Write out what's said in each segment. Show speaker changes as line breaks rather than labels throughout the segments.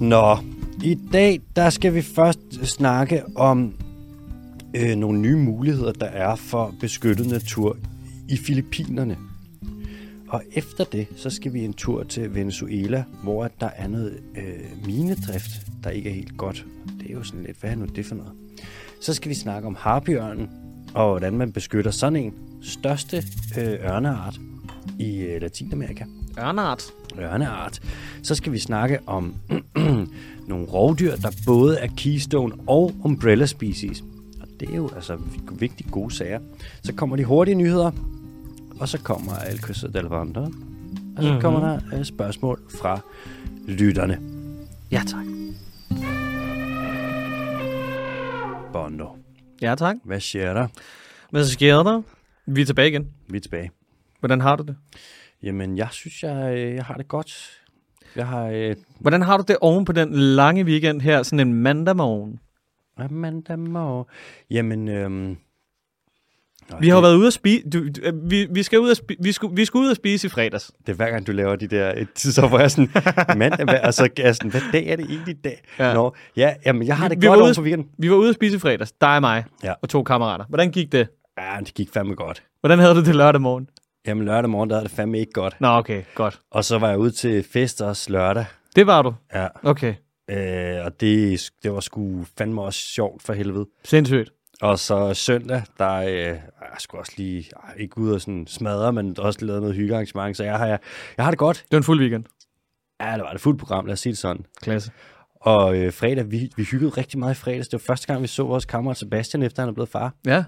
Nå, i dag der skal vi først snakke om øh, nogle nye muligheder, der er for beskyttet natur i Filippinerne. Og efter det, så skal vi en tur til Venezuela, hvor at der er noget øh, minedrift, der ikke er helt godt. Det er jo sådan lidt, hvad er nu det for noget? Så skal vi snakke om harbjørnen, og hvordan man beskytter sådan en største øh, ørneart i øh, Latinamerika
Ørnart.
ørneart, så skal vi snakke om nogle rovdyr, der både er keystone og umbrella species. Og det er jo altså vigtige gode sager. Så kommer de hurtige nyheder, og så kommer El Curso del Vandre, og
Mhm.
så kommer der øh, spørgsmål fra lytterne.
Ja, tak.
Bondo,
Ja, tak.
hvad sker der?
Hvad sker der? Vi er tilbage igen.
Vi er tilbage.
Hvordan har du det?
Jamen, jeg synes, jeg, øh, jeg har det godt. Jeg har øh,
Hvordan har du det oven på den lange weekend her, sådan en mandag morgen?
mandag morgen. Jamen, øhm, Nå,
Vi har jo været ude at spise. Du, du, øh, vi, vi, skal ud at spi, vi, skulle, vi skulle ud at spise i fredags.
Det er hver gang, du laver de der øh, tidser, hvor jeg er sådan, mandag, hvad, og så er jeg sådan, hvad dag er det egentlig i dag? Ja.
Ja.
Nå, ja, jamen, jeg har det
Vi- vi
godt
var
over
ude-
for weekenden.
Vi var ude at spise i fredags. Dig og mig.
Ja.
Og to kammerater. Hvordan gik det?
Ja, det gik fandme godt.
Hvordan havde du det lørdag morgen?
Jamen, lørdag morgen, der havde det fandme ikke godt.
Nå, okay. Godt.
Og så var jeg ude til fest også lørdag.
Det var du.
Ja,
Okay.
øh, og det, det var sgu fandme også sjovt for helvede.
Sindssygt.
Og så søndag, der øh, jeg skulle også lige, ej, ikke ud og sådan smadre, men også lavet noget hyggearrangement, så jeg har, jeg, jeg har det godt.
Det var en fuld weekend.
Ja, det var et fuldt program, lad os sige det sådan.
Klasse.
Og øh, fredag, vi, vi hyggede rigtig meget i fredags. Det var første gang, vi så vores kammerat Sebastian, efter han er blevet far.
Ja.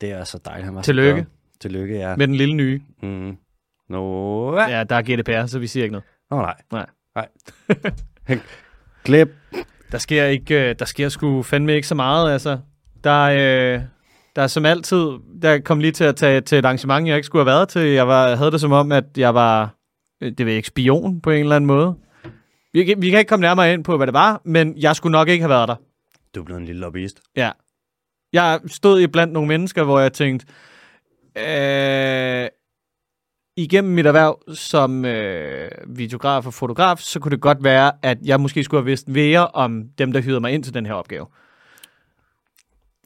Det er så dejligt, han var så
Tillykke.
glad. Tillykke, ja.
Med den lille nye.
Mm. Nå, ja.
Ja, der er GDPR, så vi siger ikke noget.
Nå, nej.
Nej.
Nej. Glip.
Der sker ikke, øh, der sker sgu fandme ikke så meget, altså. Der, er, øh, der er som altid, der kom lige til at tage til et arrangement, jeg ikke skulle have været til. Jeg var, havde det som om, at jeg var, øh, det ved jeg ikke, spion på en eller anden måde. Vi, kan- vi kan ikke komme nærmere ind på, hvad det var, men jeg skulle nok ikke have været der.
Du er blevet en lille lobbyist.
Ja. Jeg stod i blandt nogle mennesker, hvor jeg tænkte, øh, igennem mit erhverv som øh, videograf og fotograf, så kunne det godt være, at jeg måske skulle have vidst mere om dem, der hyrede mig ind til den her opgave.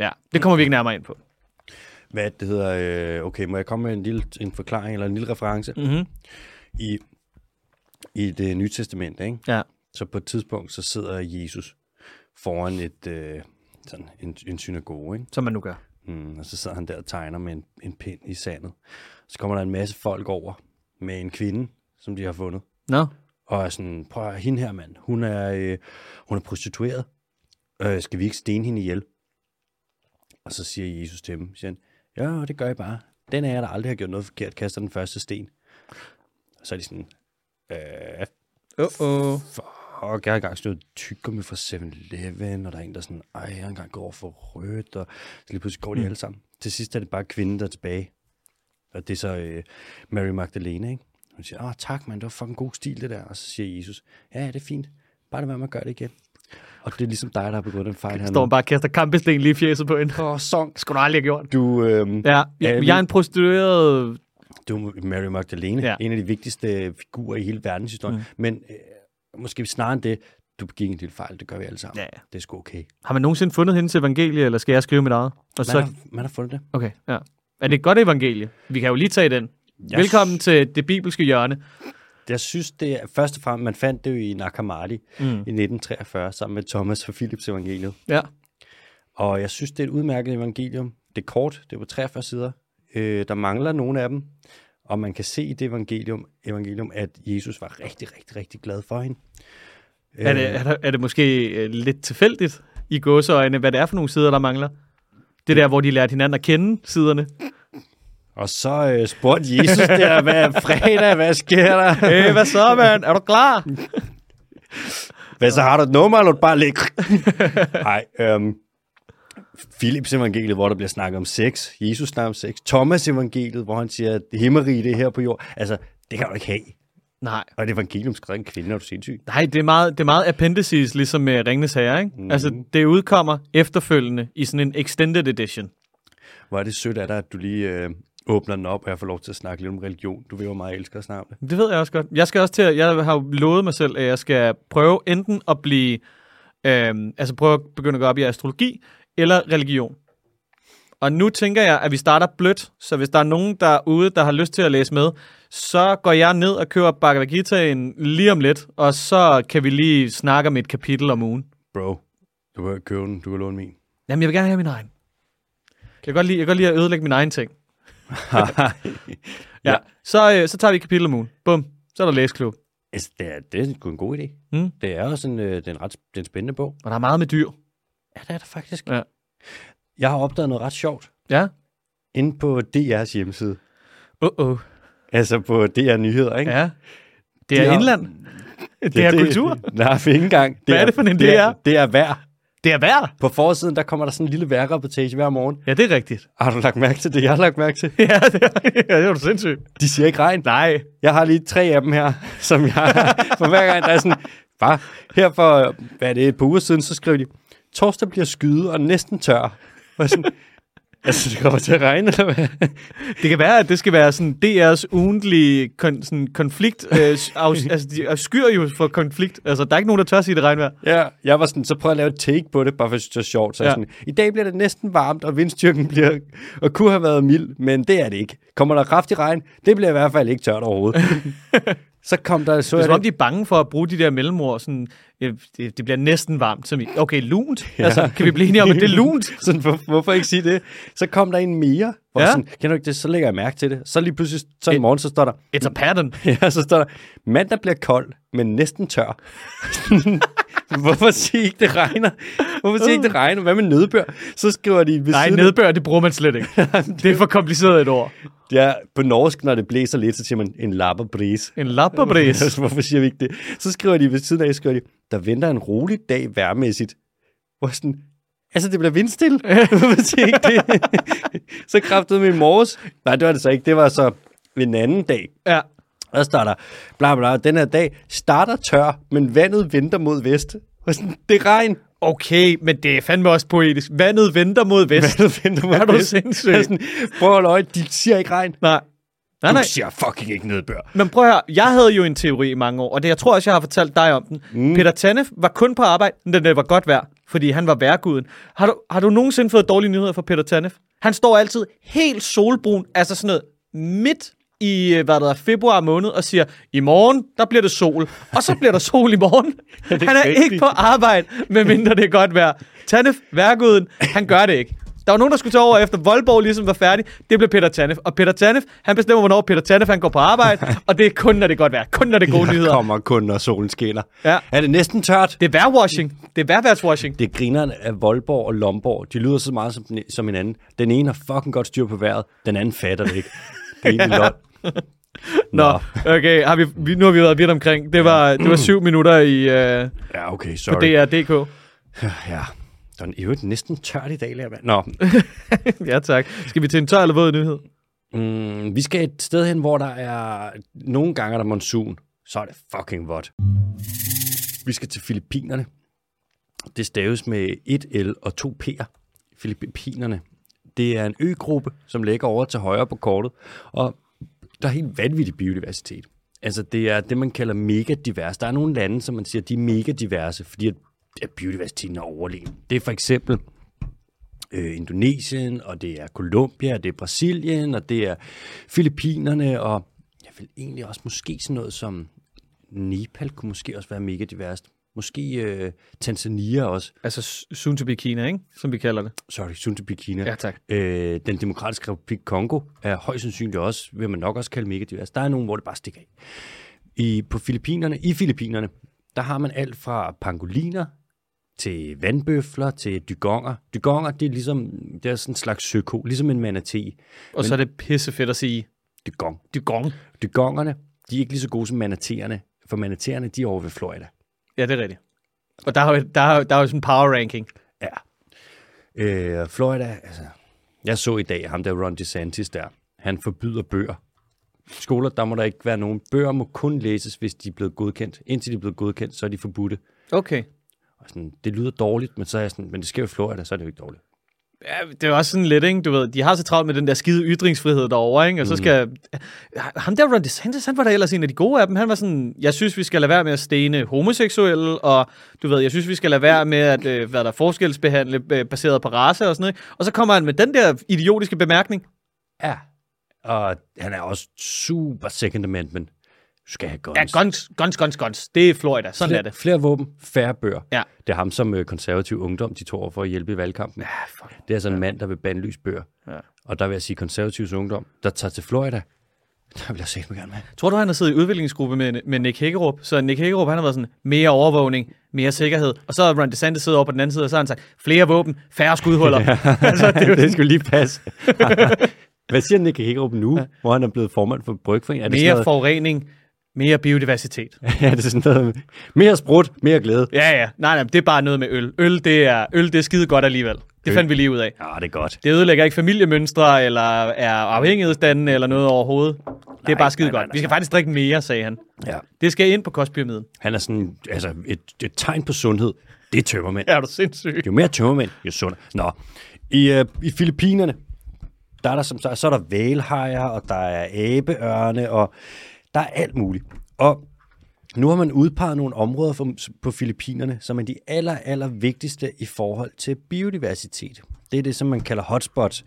Ja, det kommer vi ikke nærmere ind på.
Hvad er det, det hedder? Øh, okay, må jeg komme med en lille en forklaring eller en lille reference?
Mm-hmm.
I, I det nye testament, ikke?
Ja.
Så på et tidspunkt, så sidder Jesus foran et, øh, sådan en, en synagoge, ikke?
Som man nu gør.
Mm, og så sidder han der og tegner med en, en pind i sandet. Så kommer der en masse folk over med en kvinde, som de har fundet.
Nå,
Og er sådan, prøv at høre, hende her mand, hun er, øh, hun er prostitueret. Øh, skal vi ikke stene hende ihjel? Og så siger Jesus til dem, siger han, ja, det gør I bare. Den af jer, der aldrig har gjort noget forkert, kaster den første sten. Og så er de sådan, øh,
uh-oh.
fuck, jeg har engang stået tyggegummi fra 7-Eleven, og der er en, der er sådan, ej, jeg har engang gået over for rødt, og så lige pludselig går de alle sammen. Til sidst er det bare kvinden, der er tilbage. Og det er så øh, Mary Magdalene, ikke? Hun siger, åh, tak, mand, det var fucking god stil, det der. Og så siger Jesus, ja, ja, det er fint. Bare det være med at gøre det igen. Og det er ligesom dig, der har begået den fejl her
Står man
nu.
bare og kaster kampesten lige i fjeset på en.
Åh, song.
Skulle du aldrig have gjort.
Du, øh,
Ja, jeg,
Alle-
jeg er en prostitueret...
du er Mary Magdalene, ja.
Ja.
en af de vigtigste figurer i hele verdenshistorien. Mm. Men øh, måske snarere end det, du begik en lille fejl, det gør vi alle sammen.
Ja.
Det er sgu okay.
Har man nogensinde fundet hendes evangelie, eller skal jeg skrive mit eget? Og
Man,
så
så... har, man har fundet det.
Okay, ja. Er det et godt evangelie? Vi kan jo lige tage den. Yes. Velkommen til det bibelske hjørne.
Jeg synes, det er, først og fremmest, man fandt det jo i Nakamati mm. i 1943, sammen med Thomas og Philips evangeliet.
Ja.
Og jeg synes, det er et udmærket evangelium. Det er kort, det er på 43 sider. Øh, der mangler nogle af dem. Og man kan se i det evangelium, evangelium, at Jesus var rigtig, rigtig, rigtig glad for hende.
Er, det, er, der, er det måske øh, lidt tilfældigt i gåseøjne, hvad det er for nogle sider, der mangler? Det der, hvor de lærte hinanden at kende siderne.
Og så øh, spurgte Jesus der, hvad er fredag, hvad sker der?
Øh, hvad så, mand? Er du klar?
Hvad så har du et nummer, eller du bare ligge? Nej, øhm, Philips evangeliet, hvor der bliver snakket om sex. Jesus snakker om sex. Thomas evangeliet, hvor han siger, at himmeri det er her på jord. Altså, det kan du ikke have.
Nej.
Og et evangelium skrevet af en kvinde, er du sindssyg?
Nej, det er meget, det er meget appendices, ligesom med Ringnes Herre, ikke? Mm. Altså, det udkommer efterfølgende i sådan en extended edition.
Hvor er det sødt af dig, at du lige øh, åbner den op, og jeg får lov til at snakke lidt om religion. Du ved, hvor meget jeg elsker at snakke om det.
Det ved jeg også godt. Jeg skal også til at, jeg har jo lovet mig selv, at jeg skal prøve enten at blive, øhm, altså prøve at begynde at gå op i astrologi, eller religion. Og nu tænker jeg, at vi starter blødt, så hvis der er nogen derude, der har lyst til at læse med, så går jeg ned og køber Bhagavad Gita'en lige om lidt, og så kan vi lige snakke om et kapitel om ugen.
Bro, du kan købe den, du kan låne min.
Jamen, jeg vil gerne have min egen. Jeg kan godt lide, jeg kan godt lide at ødelægge min egen ting. Ja.
Ja.
ja. Så, øh, så tager vi et kapitel om ugen. Bum. Så er der læseklub.
altså, det er, det er sgu en god idé.
Mm.
Det er også en, øh, det er en ret det er en spændende bog.
Og der er meget med dyr.
Ja, det er det faktisk.
Ja.
Jeg har opdaget noget ret sjovt
Ja.
inde på DR's hjemmeside.
Uh -oh.
Altså på DR Nyheder, ikke?
Ja. Det er
De har-
indland. Det, er kultur.
Nej, for ikke engang.
Hvad er det for en
det er?
DR?
Det er vejr.
Det er værd.
På forsiden, der kommer der sådan en lille vejrreportage hver morgen.
Ja, det er rigtigt.
Har du lagt mærke til det? Jeg har lagt mærke til.
ja, det er, ja, det er du sindssygt.
De siger ikke regn.
Nej.
Jeg har lige tre af dem her, som jeg For hver gang, der er sådan... Bare her for, hvad er det, et par uger siden, så skrev de, torsdag bliver skyde og næsten tør. Og sådan, altså, det kommer til at regne, eller hvad?
Det kan være, at det skal være sådan DR's ugentlige kon, sådan konflikt. Øh, s- af, altså, de skyr jo for konflikt. Altså, der er ikke nogen, der tør sige det regnvejr.
Ja, jeg var sådan, så prøv at lave et take på det, bare for at synes, det er sjovt. Så ja.
Ja.
sådan, I dag bliver det næsten varmt, og vindstyrken bliver, og kunne have været mild, men det er det ikke. Kommer der kraftig regn, det bliver i hvert fald ikke tørt overhovedet. så kom der, så
Det er
jeg
som om, de er bange for at bruge de der mellemord. Sådan, øh, det, det bliver næsten varmt. Som i, okay, lunt. Ja. Altså, kan vi blive enige om, at det er lunt?
sådan, hvor, hvorfor ikke sige det? Så kom der en mere, hvor ja.
Ja.
sådan, kender du ikke det, så lægger jeg mærke til det. Så lige pludselig, så en morgen, så står der,
It's a pattern.
ja, så står der, mandag bliver kold, men næsten tør. hvorfor siger I ikke, det regner? Hvorfor siger I ikke, det regner? Hvad med nedbør? Så skriver de ved
Nej,
siden af-
nedbør, det bruger man slet ikke. det er for kompliceret et ord.
Ja, på norsk, når det blæser lidt, så siger man en lapperbris.
En lapperbris.
Altså, hvorfor siger vi ikke det? Så skriver de ved siden af, skriver de, der venter en rolig dag værmæssigt. Hvor jeg sådan, altså det bliver vindstille. hvorfor siger I ikke det? så kraftede min morges. Nej, det var det så ikke. Det var så en anden dag.
Ja.
Og der starter, bla bla, den her dag starter tør, men vandet venter mod vest. Og sådan, det er regn.
Okay, men det er fandme også poetisk. Vandet venter mod vest.
Vandet venter mod
Er du
vest.
sindssyg?
Og Sådan, prøv at løje, de siger ikke regn.
Nej. Nej, nej.
Du siger fucking ikke nedbør.
Men prøv her, jeg havde jo en teori i mange år, og det jeg tror også, jeg har fortalt dig om den. Mm. Peter Tanef var kun på arbejde, men det var godt værd, fordi han var værguden. Har du, har du nogensinde fået dårlige nyheder fra Peter Tanef? Han står altid helt solbrun, altså sådan noget midt i øh, hvad der er, februar måned og siger, i morgen, der bliver det sol. Og så bliver der sol i morgen.
det er
Han er
rigtigt.
ikke på arbejde, medmindre det er godt vejr. Tanef, værguden, han gør det ikke. Der var nogen, der skulle tage over efter Voldborg ligesom var færdig. Det blev Peter Tanef. Og Peter Tanef, han bestemmer, hvornår Peter Tanef han går på arbejde. og det er kun, når det er godt vejr. Kun når det er gode
Der
nyheder.
kommer kun, når solen skinner.
Ja.
Er det næsten tørt?
Det er værwashing. Det er værværtswashing.
Det griner af Voldborg og Lomborg. De lyder så meget som, den, som hinanden. Den ene har fucking godt styr på vejret, den anden fatter det ikke. Det er egentlig lort.
Nå, okay. Har vi, vi, nu har vi været vidt omkring. Det var, det var syv minutter i øh,
Ja, okay, sorry. Det er...
DR.dk.
Ja, den er jo næsten tørt i dag, lærer jeg. Nå,
ja, tak. Skal vi til en tør eller våd nyhed?
mm, vi skal et sted hen, hvor der er... Nogle gange er der monsun. Så er det fucking vådt. Vi skal til Filippinerne. Det staves med et L og to P'er. Filippinerne. Det er en øgruppe, som ligger over til højre på kortet, og der er helt vanvittig biodiversitet. Altså, det er det, man kalder mega divers. Der er nogle lande, som man siger, de er mega diverse, fordi at, at biodiversiteten er overlegen. Det er for eksempel øh, Indonesien, og det er Colombia, og det er Brasilien, og det er Filippinerne, og jeg vil egentlig også måske sådan noget som Nepal kunne måske også være mega diverst. Måske øh, Tanzania også.
Altså, soon to be Kina, ikke? Som vi kalder det.
Sorry, soon to be Kina.
Ja, tak.
Øh, den demokratiske republik Kongo er højst sandsynligt også, vil man nok også kalde mega divers. Der er nogen, hvor det bare stikker af. I, på Filippinerne, I Filippinerne, der har man alt fra pangoliner til vandbøfler til dygonger. Dygonger, det er ligesom det er sådan en slags søko, ligesom en manatee.
Og Men... så er det pissefedt at sige
Dygong.
dygong.
Dygongerne, de er ikke lige så gode som manateerne, for manateerne, de er over ved Florida.
Ja, det er rigtigt. Og der er jo, der er, jo- der er jo sådan en power ranking.
Ja. Øh, Florida, altså. Jeg så i dag ham der Ron DeSantis der. Han forbyder bøger. Skoler, der må der ikke være nogen. Bøger må kun læses, hvis de er blevet godkendt. Indtil de er blevet godkendt, så er de forbudte.
Okay.
Og sådan, det lyder dårligt, men så er jeg sådan, men det sker jo i Florida, så er det jo ikke dårligt.
Ja, det er også sådan lidt, ikke? Du ved, de har så travlt med den der skide ytringsfrihed derovre, ikke? Og så skal... Ham der Ron DeSantis, han var da ellers en af de gode af dem. Han var sådan, jeg synes, vi skal lade være med at stene homoseksuelle, og du ved, jeg synes, vi skal lade være med at øh, hvad der er, forskelsbehandle øh, baseret på race og sådan noget. ikke? Og så kommer han med den der idiotiske bemærkning.
Ja. Og han er også super second amendment. Du skal have guns.
Ja, guns, guns, guns, guns. Det er Florida. Sådan
flere,
er det.
Flere våben, færre bøger.
Ja.
Det er ham som øh, konservativ ungdom, de tog over for at hjælpe i valgkampen. Ja, fuck. Det er altså en mand, der vil bandlyse bøger. Ja. Og der vil jeg sige, konservativs ungdom, der tager til Florida, der vil jeg sætte mig gerne med.
Tror du, han har siddet i udviklingsgruppe med, med Nick Hækkerup? Så Nick Hækkerup, han har været sådan, mere overvågning, mere sikkerhed. Og så har Ron DeSantis siddet over på den anden side, og så har han sagt, flere våben, færre skudhuller. altså, det er jo
det skulle lige passe. Hvad siger Nick Hækkerup nu, ja. hvor han er blevet formand for Brygforeningen? Er det
mere
sådan
forurening, mere biodiversitet.
noget, er det sådan noget, mere sprudt, mere glæde?
Ja, ja. Nej, nej, det er bare noget med øl. Øl, det er, øl, det er skide godt alligevel. Det fandt vi lige ud af.
Ja, det er godt.
Det ødelægger ikke familiemønstre, eller er afhængighedsdannende, eller noget overhovedet. Det er
Nej,
bare skide
nej, nej,
godt. Vi skal faktisk drikke mere, sagde han.
Ja.
Det skal ind på kostpyramiden.
Han er sådan, altså et, et tegn på sundhed. Det er tømmermænd.
Er du sindssyg?
Jo mere tømmermænd, jo sundere. Nå, i, øh, i Filippinerne, der er der som sagt, så er der valhajer, og der er abeørne, og der er alt muligt. Og nu har man udpeget nogle områder for, på Filippinerne, som er de aller, aller vigtigste i forhold til biodiversitet. Det er det, som man kalder hotspots,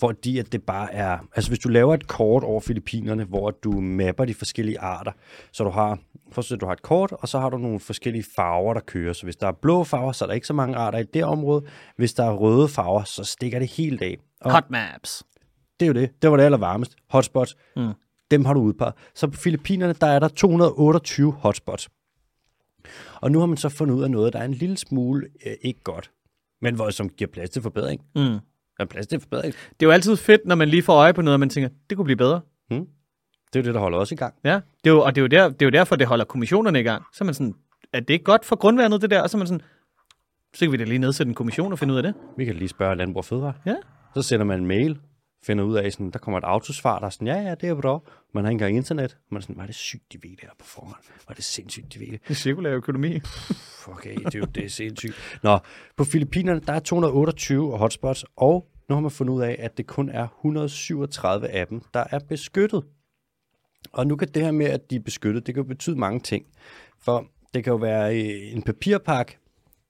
fordi at det bare er... Altså hvis du laver et kort over Filippinerne, hvor du mapper de forskellige arter, så du har, først du har et kort, og så har du nogle forskellige farver, der kører. Så hvis der er blå farver, så er der ikke så mange arter i det område. Hvis der er røde farver, så stikker det helt af. Og
Hot maps.
det er jo det. Det var det allervarmest. Hotspots. Mm. Dem har du udpeget. Så på Filippinerne, der er der 228 hotspots. Og nu har man så fundet ud af noget, der er en lille smule øh, ikke godt, men hvor, som giver plads til forbedring. Mm. Der er plads til forbedring.
Det er jo altid fedt, når man lige får øje på noget, og man tænker, det kunne blive bedre.
Det er jo det, der holder os i gang.
Ja, det er jo, og det er, jo der, det er jo derfor, det holder kommissionerne i gang. Så er man sådan, er det ikke godt for grundvandet, det der? Og så er man sådan, så kan vi da lige nedsætte en kommission og finde ud af det.
Vi kan lige spørge Landbrug og Fødevare.
Ja.
Så sender man en mail, finder ud af, sådan, der kommer et autosvar, der er sådan, ja, ja, det er bra. Man har ikke engang internet. Man er sådan, var det sygt, de ved det her på forhånd. Var det sindssygt, de ved det.
Det er cirkulær økonomi.
Okay, det er jo det er sindssygt. Nå, på Filippinerne, der er 228 hotspots, og nu har man fundet ud af, at det kun er 137 af dem, der er beskyttet. Og nu kan det her med, at de er beskyttet, det kan jo betyde mange ting. For det kan jo være øh, en papirpakke,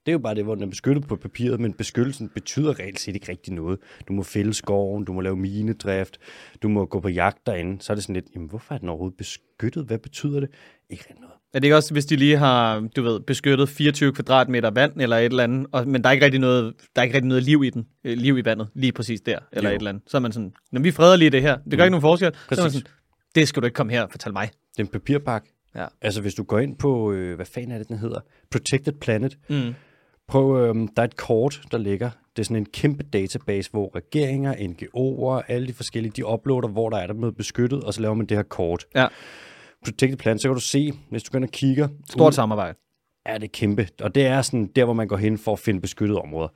det er jo bare det, hvor den er beskyttet på papiret, men beskyttelsen betyder reelt set ikke rigtig noget. Du må fælde skoven, du må lave minedrift, du må gå på jagt derinde. Så er det sådan lidt, jamen hvorfor er den overhovedet beskyttet? Hvad betyder det? Ikke rigtig noget.
er det ikke også, hvis de lige har, du ved, beskyttet 24 kvadratmeter vand eller et eller andet, og, men der er ikke rigtig noget, der er ikke rigtig noget liv i den, øh, liv i vandet, lige præcis der, eller
Jo.
jo. Mm. et eller andet. Så er man sådan, når vi freder lige det her, det gør ikke nogen forskel. Så er man
Præcis.
sådan, det skal du ikke komme her og fortælle mig.
Det er en papirpakke.
Ja.
Altså hvis du går ind på, øh, hvad fanden er det, den hedder? Protected Planet. Mm. Prøv, øh, der er et kort, der ligger. Det er sådan en kæmpe database, hvor regeringer, NGO'er, alle de forskellige, de uploader, hvor der er der med beskyttet, og så laver man det her kort.
Ja,
Protected Planet, så kan du se, hvis du går ind og kigger,
stort samarbejde.
er det kæmpe. Og det er sådan der, hvor man går hen for at finde beskyttede områder.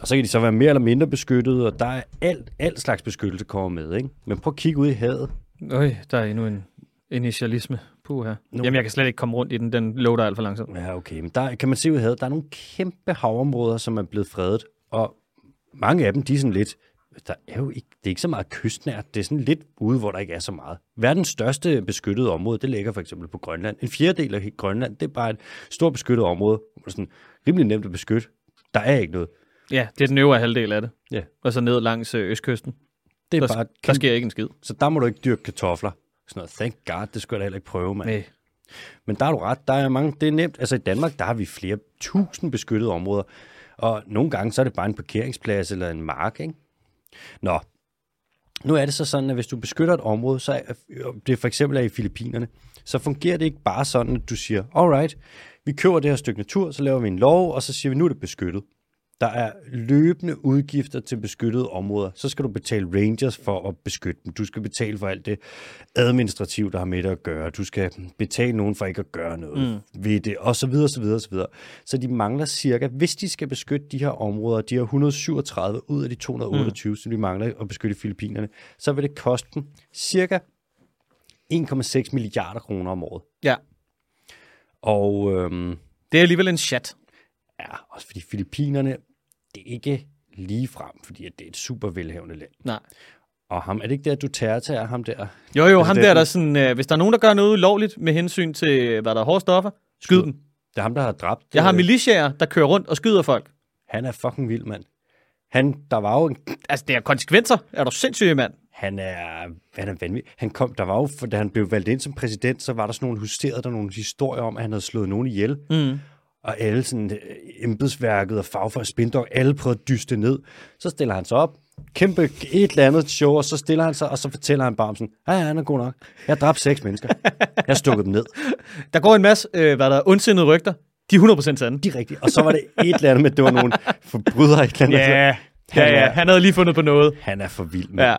Og så kan de så være mere eller mindre beskyttede, og der er alt, alt slags beskyttelse kommer med. Ikke? Men prøv at kigge ud i havet.
Øj, der er endnu en initialisme. Puh her. No. Jamen, jeg kan slet ikke komme rundt i den. Den loader alt for langsomt.
Ja, okay. Men der kan man se ud af havet, der er nogle kæmpe havområder, som er blevet fredet, og mange af dem, de er sådan lidt, der er jo ikke, det er ikke så meget kystnært, det er sådan lidt ude, hvor der ikke er så meget. Verdens største beskyttede område, det ligger for eksempel på Grønland. En fjerdedel af Grønland, det er bare et stort beskyttet område, hvor det er sådan rimelig nemt at beskytte. Der er ikke noget.
Ja, det er den øvre halvdel af det.
Ja.
Og så ned langs øh, østkysten.
Det er
Der,
der, bare
der
kæmpe,
sker ikke en skid.
Så der må du ikke dyrke kartofler. Sådan noget, thank god, det skulle jeg da heller ikke prøve, mand.
Nej.
Men der er du ret, der er mange, det er nemt. Altså i Danmark, der har vi flere tusind beskyttede områder, og nogle gange, så er det bare en parkeringsplads eller en mark, ikke? Nå, nu er det så sådan, at hvis du beskytter et område, så er, om det for eksempel er i Filippinerne, så fungerer det ikke bare sådan, at du siger, alright, vi køber det her stykke natur, så laver vi en lov, og så siger vi, nu er det beskyttet. Der er løbende udgifter til beskyttede områder. Så skal du betale rangers for at beskytte dem. Du skal betale for alt det administrativt, der har med det at gøre. Du skal betale nogen for ikke at gøre noget mm. ved det, og så videre, så videre, så videre. Så de mangler cirka, hvis de skal beskytte de her områder, de her 137 ud af de 228, mm. som de mangler at beskytte i Filippinerne, så vil det koste dem cirka 1,6 milliarder kroner om året. øhm,
Ja,
Og øhm,
det er alligevel en chat.
Ja, også fordi Filippinerne, det er ikke lige frem, fordi at det er et super velhavende land.
Nej.
Og ham, er det ikke der, du er ham der?
Jo, jo,
Altså,
ham
det er
der, der
den-
sådan, øh, hvis der er nogen, der gør noget ulovligt med hensyn til, hvad der er hårde stoffer, skyd
Skyd.
dem.
Det er ham, der har dræbt.
Jeg har
øh,
militiaer, der kører rundt og skyder folk.
Han er fucking vild, mand. Han, der var jo en
Altså, det er konsekvenser. Er du sindssyg, mand?
Han er, han er vanvittig. Han kom, der var jo, for da han blev valgt ind som præsident, så var der sådan nogle husterede der nogle historier om, at han havde slået nogen ihjel.
Mm.
Og alle sådan øh, embedsværket og fagfolk spindok, alle prøvede at dyste ned. Så stiller han sig op, kæmpe et eller andet show, og så stiller han sig, og så fortæller han bare om sådan, ja, ja, han er god nok. Jeg dræbte seks mennesker. Jeg stukkede dem ned.
Der går en masse, øh, hvad der er ondsindede rygter. De er 100% sande.
De er rigtige. Og så var det et eller andet med, at det var nogle forbrydere et eller andet.
Ja,
Han
ja, ja.
er-
Han havde lige fundet på noget.
Han er for vild, mand.
Ja.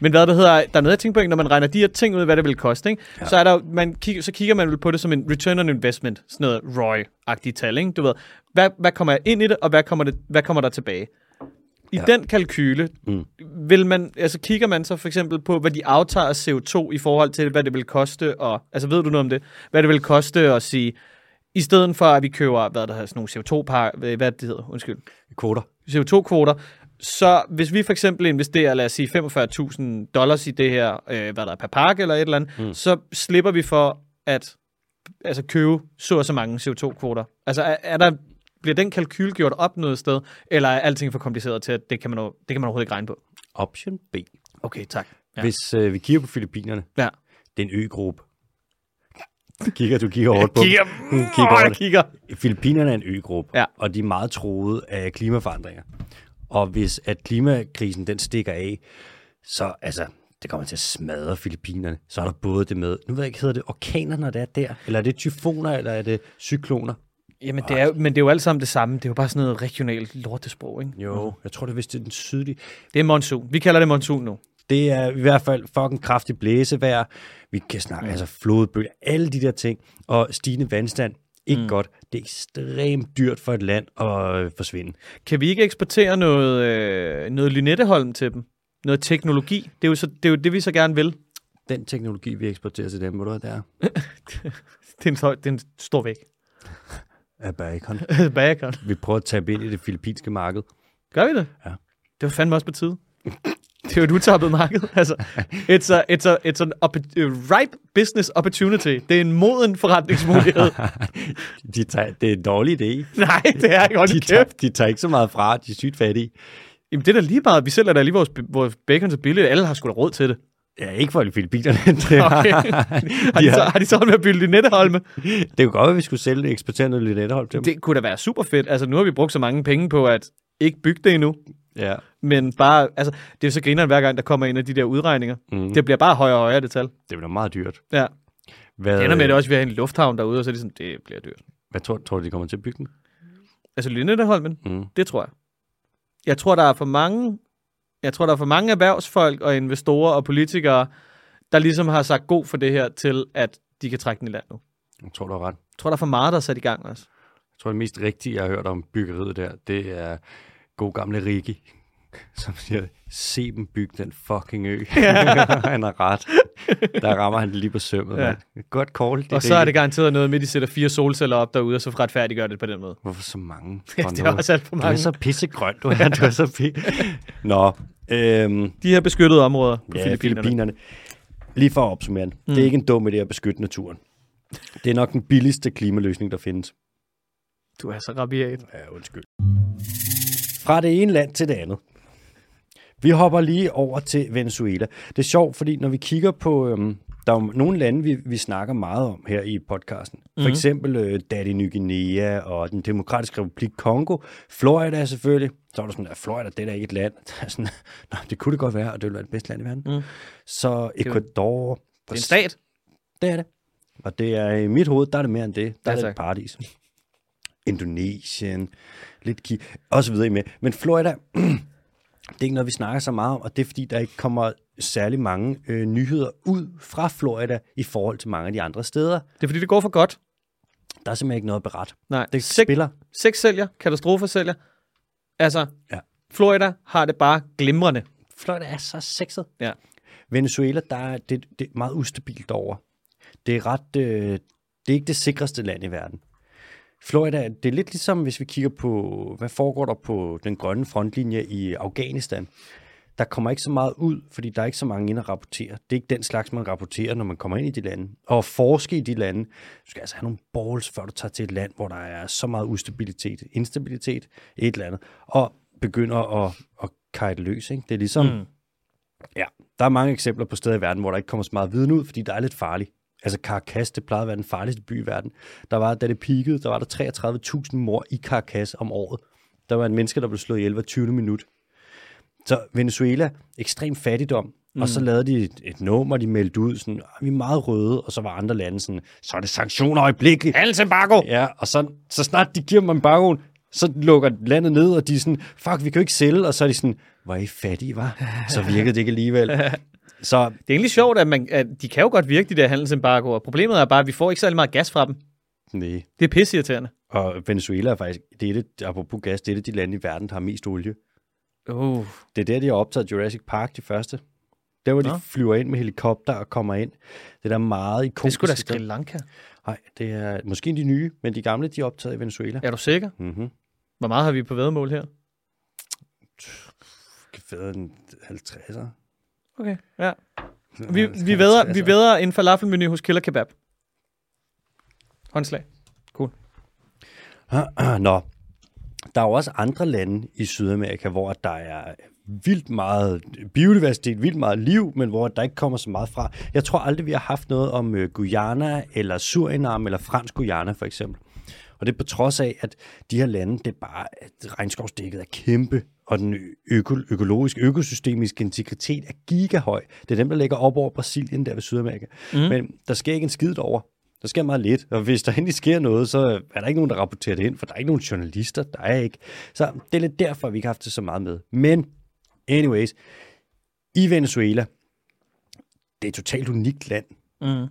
Men hvad det hedder, der er noget, jeg tænker på, når man regner de her ting ud, hvad det vil koste, ikke? Ja. så, er der, jo- man kig, så kigger man vel på det som en return on investment, sådan noget ROI-agtigt tal, ikke? du ved. Hvad, hvad kommer jeg ind i det, og hvad kommer, det, hvad kommer der tilbage? I ja. den kalkyle, mm. vil man, altså kigger man så for eksempel på, hvad de aftager af CO2 i forhold til, hvad det vil koste, og, altså ved du noget om det, hvad det vil koste at sige, i stedet for at vi køber, hvad der hedder, sådan nogle CO2-par, hvad hvad det hedder, undskyld,
Kvoter.
CO2-kvoter, så hvis vi for eksempel investerer, lad os sige, 45.000 dollars i det her, øh, hvad der er per pakke eller et eller andet, mm. så slipper vi for at altså, købe så og så mange CO2-kvoter. Altså er, er der, bliver den kalkyl gjort op noget sted, eller er alting for kompliceret til, at det kan man, o- det kan man overhovedet ikke regne på?
Option B.
Okay, tak. Ja.
Ja. Hvis øh, vi kigger på Filippinerne,
ja.
det er en øgruppe. Kigger du kigger hårdt på dem.
Kigger,
Mm,
kigger,
kigger over
jeg
det.
kigger.
Filippinerne er en øgruppe,
Ja.
og de er meget troede af klimaforandringer. Og hvis at klimakrisen den stikker af, så altså, det kommer til at smadre Filippinerne. Så er der både det med, nu ved jeg ikke, hedder det orkaner, når det er der? Eller er det tyfoner, eller er det cykloner?
Jamen, det er, jo- men det er jo alt sammen det samme. Det er jo bare sådan noget regionalt lortesprog, ikke?
Jo, jeg tror det er vist det er den sydlige.
Det er monsun. Vi kalder det monsun nu.
Det er i hvert fald fucking kraftig blæsevejr. Vi kan snakke, mm. altså flodbølger, alle de der ting. Og stigende vandstand, ikke mm. godt. Det er ekstremt dyrt for et land at øh, forsvinde.
Kan vi ikke eksportere noget, øh, noget Lynetteholm til dem? Noget teknologi? Det er, jo så, det er jo det, vi så gerne vil.
Den teknologi, vi eksporterer til dem, hvor du hvad det er?
Det er en, høj- det er en stor væg.
af bacon.
Bagekon.
Vi prøver at tabe ind i det filippinske marked.
Gør vi det?
Ja.
Det var fandme også på tide. Det er jo et utappet marked. Altså, it's, a, it's, a, it's an oppo- øh, ripe business opportunity. Det er en moden forretningsmulighed.
De tager, det er en dårlig idé.
Nej, det er ikke hold
De
kæft.
tager, de tager ikke så meget fra, de er sygt fattige.
Jamen, det er da lige meget. Vi sælger da lige vores, vores bacon så billigt. Alle har sgu da råd til det.
Ja, ikke for de filippinerne. Det, var,
Okay. Har de, så, har de så med at bygge Lynetteholme?
det kunne godt være, at vi skulle sælge det, eksportere noget Lynetteholm til dem.
Det kunne da være super fedt. Altså, nu har vi brugt så mange penge på at ikke bygge det endnu.
Ja.
Men bare, altså, det er jo så grineren hver gang, der kommer en af de der udregninger. Mm. Det bliver bare højere og højere, det tal.
Det bliver meget dyrt.
Ja.
Hvad,
Det ender med, at det også vi har en lufthavn derude, og så er det sådan, det bliver dyrt.
hvad tror, tror du, de kommer til at bygge den?
Altså Lynetteholmen,
Mm.
det tror jeg. Jeg tror, der er for mange, jeg tror, der er for mange erhvervsfolk og investorer og politikere, der ligesom har sagt god for det her til, at de kan trække den i land nu.
Jeg tror, du har ret.
Jeg tror, der er for meget, der er sat i gang også.
Jeg tror, det mest rigtige, jeg har hørt om byggeriet der, det er god gamle Rikki, som siger, se dem bygge den fucking ø. han har ret. Der rammer han lige på sømmet.
Ja.
Ja. Godt call.
Og så er det garanteret noget med, at de sætter fire solceller op derude, og så retfærdiggør det på den måde.
Hvorfor så mange?
det er også alt for
Du er
mange.
så pissegrøn, du er. Du er så pi... Nå, øhm,
De her beskyttede områder på
ja,
Filippinerne.
Filippinerne. Lige for at opsummere, mm. det er ikke en dum idé at beskytte naturen. Det er nok den billigste klimaløsning, der findes.
Du er så rabiat.
Ja, undskyld. Fra det ene land til det andet. Vi hopper lige over til Venezuela. Det er sjovt, fordi når vi kigger på... Øhm, der er jo nogle lande, vi, vi snakker meget om her i podcasten. For
Mhm.
eksempel øh, Daddy Ny Guinea og den demokratiske republik Kongo. Florida selvfølgelig. Så er der sådan, at Florida, det er da ikke et land. Det er sådan, Nå, det kunne det godt være, og det ville være det bedste land i verden. Mm. Så Ecuador.
Det er en stat.
Det er det. Og det er i mit hoved, der er det mere end det. Der ja,
Ja,
er det
tak.
et paradis. Indonesien, lidt Ki, og så videre med. Men Florida, det er ikke noget, vi snakker så meget om, og det er fordi, der ikke kommer særlig mange øh, nyheder ud fra Florida i forhold til mange af de andre steder.
Det er fordi, det går for godt.
Der er simpelthen ikke noget at berette.
Nej.
Det
Sigt-
spiller.
Seks sælger, katastrofer sælger. Altså, ja.
Ja.
Florida har det bare glimrende.
Florida er så sexet.
Ja.
Venezuela, der er det, det er meget ustabilt over. Det er ret, øh, det er ikke det sikreste land i verden. Florida, det er lidt ligesom, hvis vi kigger på, hvad foregår der på den grønne frontlinje i Afghanistan. Der kommer ikke så meget ud, fordi der er ikke så mange ind at rapportere. Det er ikke den slags, man rapporterer, når man kommer ind i de lande. Og at forske i de lande, du skal altså have nogle balls, før du tager til et land, hvor der er så meget ustabilitet, instabilitet, et eller andet, og begynder at, at kajte løs. Ikke? Det er ligesom, mm. ja, der er mange eksempler på steder i verden, hvor der ikke kommer så meget viden ud, fordi der er lidt farligt. Altså Caracas, det plejede at være den farligste by i verden. Der var, da det peakede, der var der 33.000 mor i Caracas om året. Der var en menneske, der blev slået ihjel hver 20. minut. Så Venezuela, ekstrem fattigdom, mm. og så lavede de et, et nummer, de meldte ud, sådan, "Ah, vi er meget røde, og så var andre lande sådan, så er det sanktioner øjeblikkeligt.
Handelsembargo!
Ja, og så, så snart de giver dem embargoen, så lukker landet ned, og de er sådan, fuck, vi kan jo ikke sælge, og så er de sådan, hvor er I fattige, var? Så virkede det ikke alligevel. Så
Det er egentlig sjovt, at, man, at de kan jo godt virke, de der handelsembargoer. Problemet er bare, at vi får ikke særlig meget gas fra dem.
nej.
Det er pisseirriterende.
Og Venezuela er faktisk, det er det, apropos gas, det er det de lande i verden, der har mest olie.
Uh.
Det er der, de har optaget Jurassic Park, de første. Der, hvor
Nå.
de flyver ind med helikopter og kommer ind. Det er der meget ikonisk.
Det skulle da Sri Lanka.
Nej, det er måske de nye, men de gamle, de er optaget i Venezuela. Ja.
Er du sikker?
Mm-hmm.
Hvor meget har vi på vedmål her?
Fædre en 50'er.
Okay, ja. Vi, vi, altså. vedder, vi vedder en falafelmenu hos Killer Kebab. Håndslag.
Nå, der er jo også andre lande i Sydamerika, hvor der er vildt meget biodiversitet, vildt meget liv, men hvor der ikke kommer så meget fra. Jeg tror aldrig, vi har haft noget om øh, Guyana, eller Surinam, eller fransk Guyana for eksempel. Og det er på trods af, at de her lande, det er bare, at regnskovsdækket er kæmpe, og den øko- økologiske, økosystemiske integritet er gigahøj. Det er dem, der ligger op over Brasilien der ved Sydamerika. Mm. Men der sker ikke en skid over. Der sker meget lidt, og hvis der endelig sker noget, så er der ikke nogen, der rapporterer det ind, for der er ikke nogen journalister, der er ikke. Så det er lidt derfor, at vi ikke har haft det så meget med. Men, anyways, i Venezuela, det er et totalt unikt land
Mm.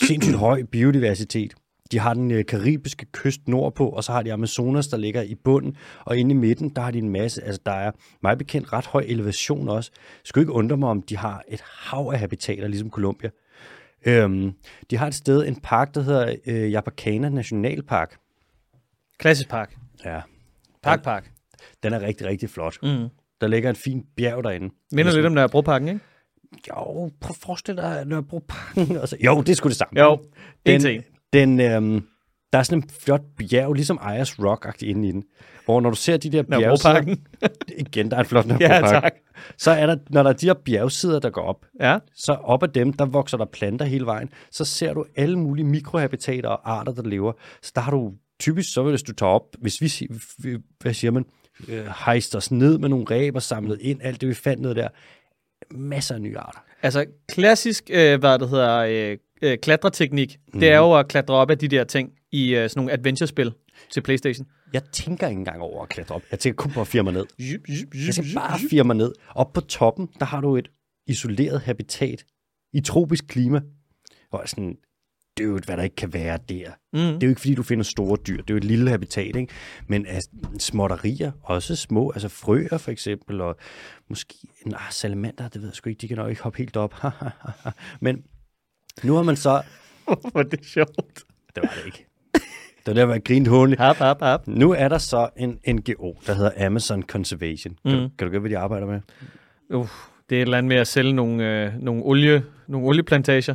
sindssygt høj biodiversitet. De har den øh, karibiske kyst nordpå, og så har de Amazonas, der ligger i bunden, og inde i midten, der har de en masse, altså der er meget bekendt ret høj elevation også. Skal ikke undre mig, om de har et hav af habitater, ligesom Colombia. Øhm, de har et sted, en park, der hedder øh, Yapacana Nationalpark.
Klassisk park.
Ja,
Park, park.
den er rigtig, rigtig flot.
Mm.
Der ligger et fint bjerg derinde.
Minder lidt om Nørrebroparken, ikke?
Jo, prøv at forestille dig Nørrebro Parken. Altså, jo, det skulle det samme.
Jo, en
den,
ting.
den, øhm, der er sådan en flot bjerg, ligesom Ayers rock inde i den, hvor når du ser de der bjerge...
Nørrebroparken.
Igen, der er en flot
Ja,
Nørrebropark.
tak.
Så er der, når der er de her bjergsider, der går op,
Ja.
så op ad dem, der vokser der planter hele vejen, så ser du alle mulige mikrohabitater og arter, der lever. Så der har du typisk, så vil hvis du tager op, hvis vi, si- vi- hvad siger man, øh, hejste os ned med nogle ræber samlet ind, alt det vi fandt ned der, masser af nye arter.
Altså, klassisk, øh, hvad det hedder, øh, øh, klatreteknik, det er jo at klatre op af de der ting i øh, sådan nogle adventure-spil til Playstation.
Jeg tænker ikke engang over at klatre op. Jeg tænker kun på at fire mig ned. Jeg skal Altså, bare fire mig ned. Op på toppen, der har du et isoleret habitat i tropisk klima. Og jeg er sådan, det er jo, hvad der ikke kan være der. Mm.
Mhm.
Det er jo ikke, fordi du finder store dyr. Det er jo et lille habitat, ikke? Men altså, småtterier, også små, altså frøer for eksempel, og måske, nej, salamander, det ved jeg sgu ikke, de kan nok ikke hoppe helt op. Men nu har man så,
Hvorfor er det sjovt?
det var det ikke. Det var der, hvor jeg grinede hånligt.
Hop, hop, hop.
Nu er der så en NGO, der hedder Amazon Conservation. Kan, mm. kan du gøre, hvad de arbejder med?
Uh, det er et eller andet med at sælge nogle, øh, nogle, olie, nogle olieplantager.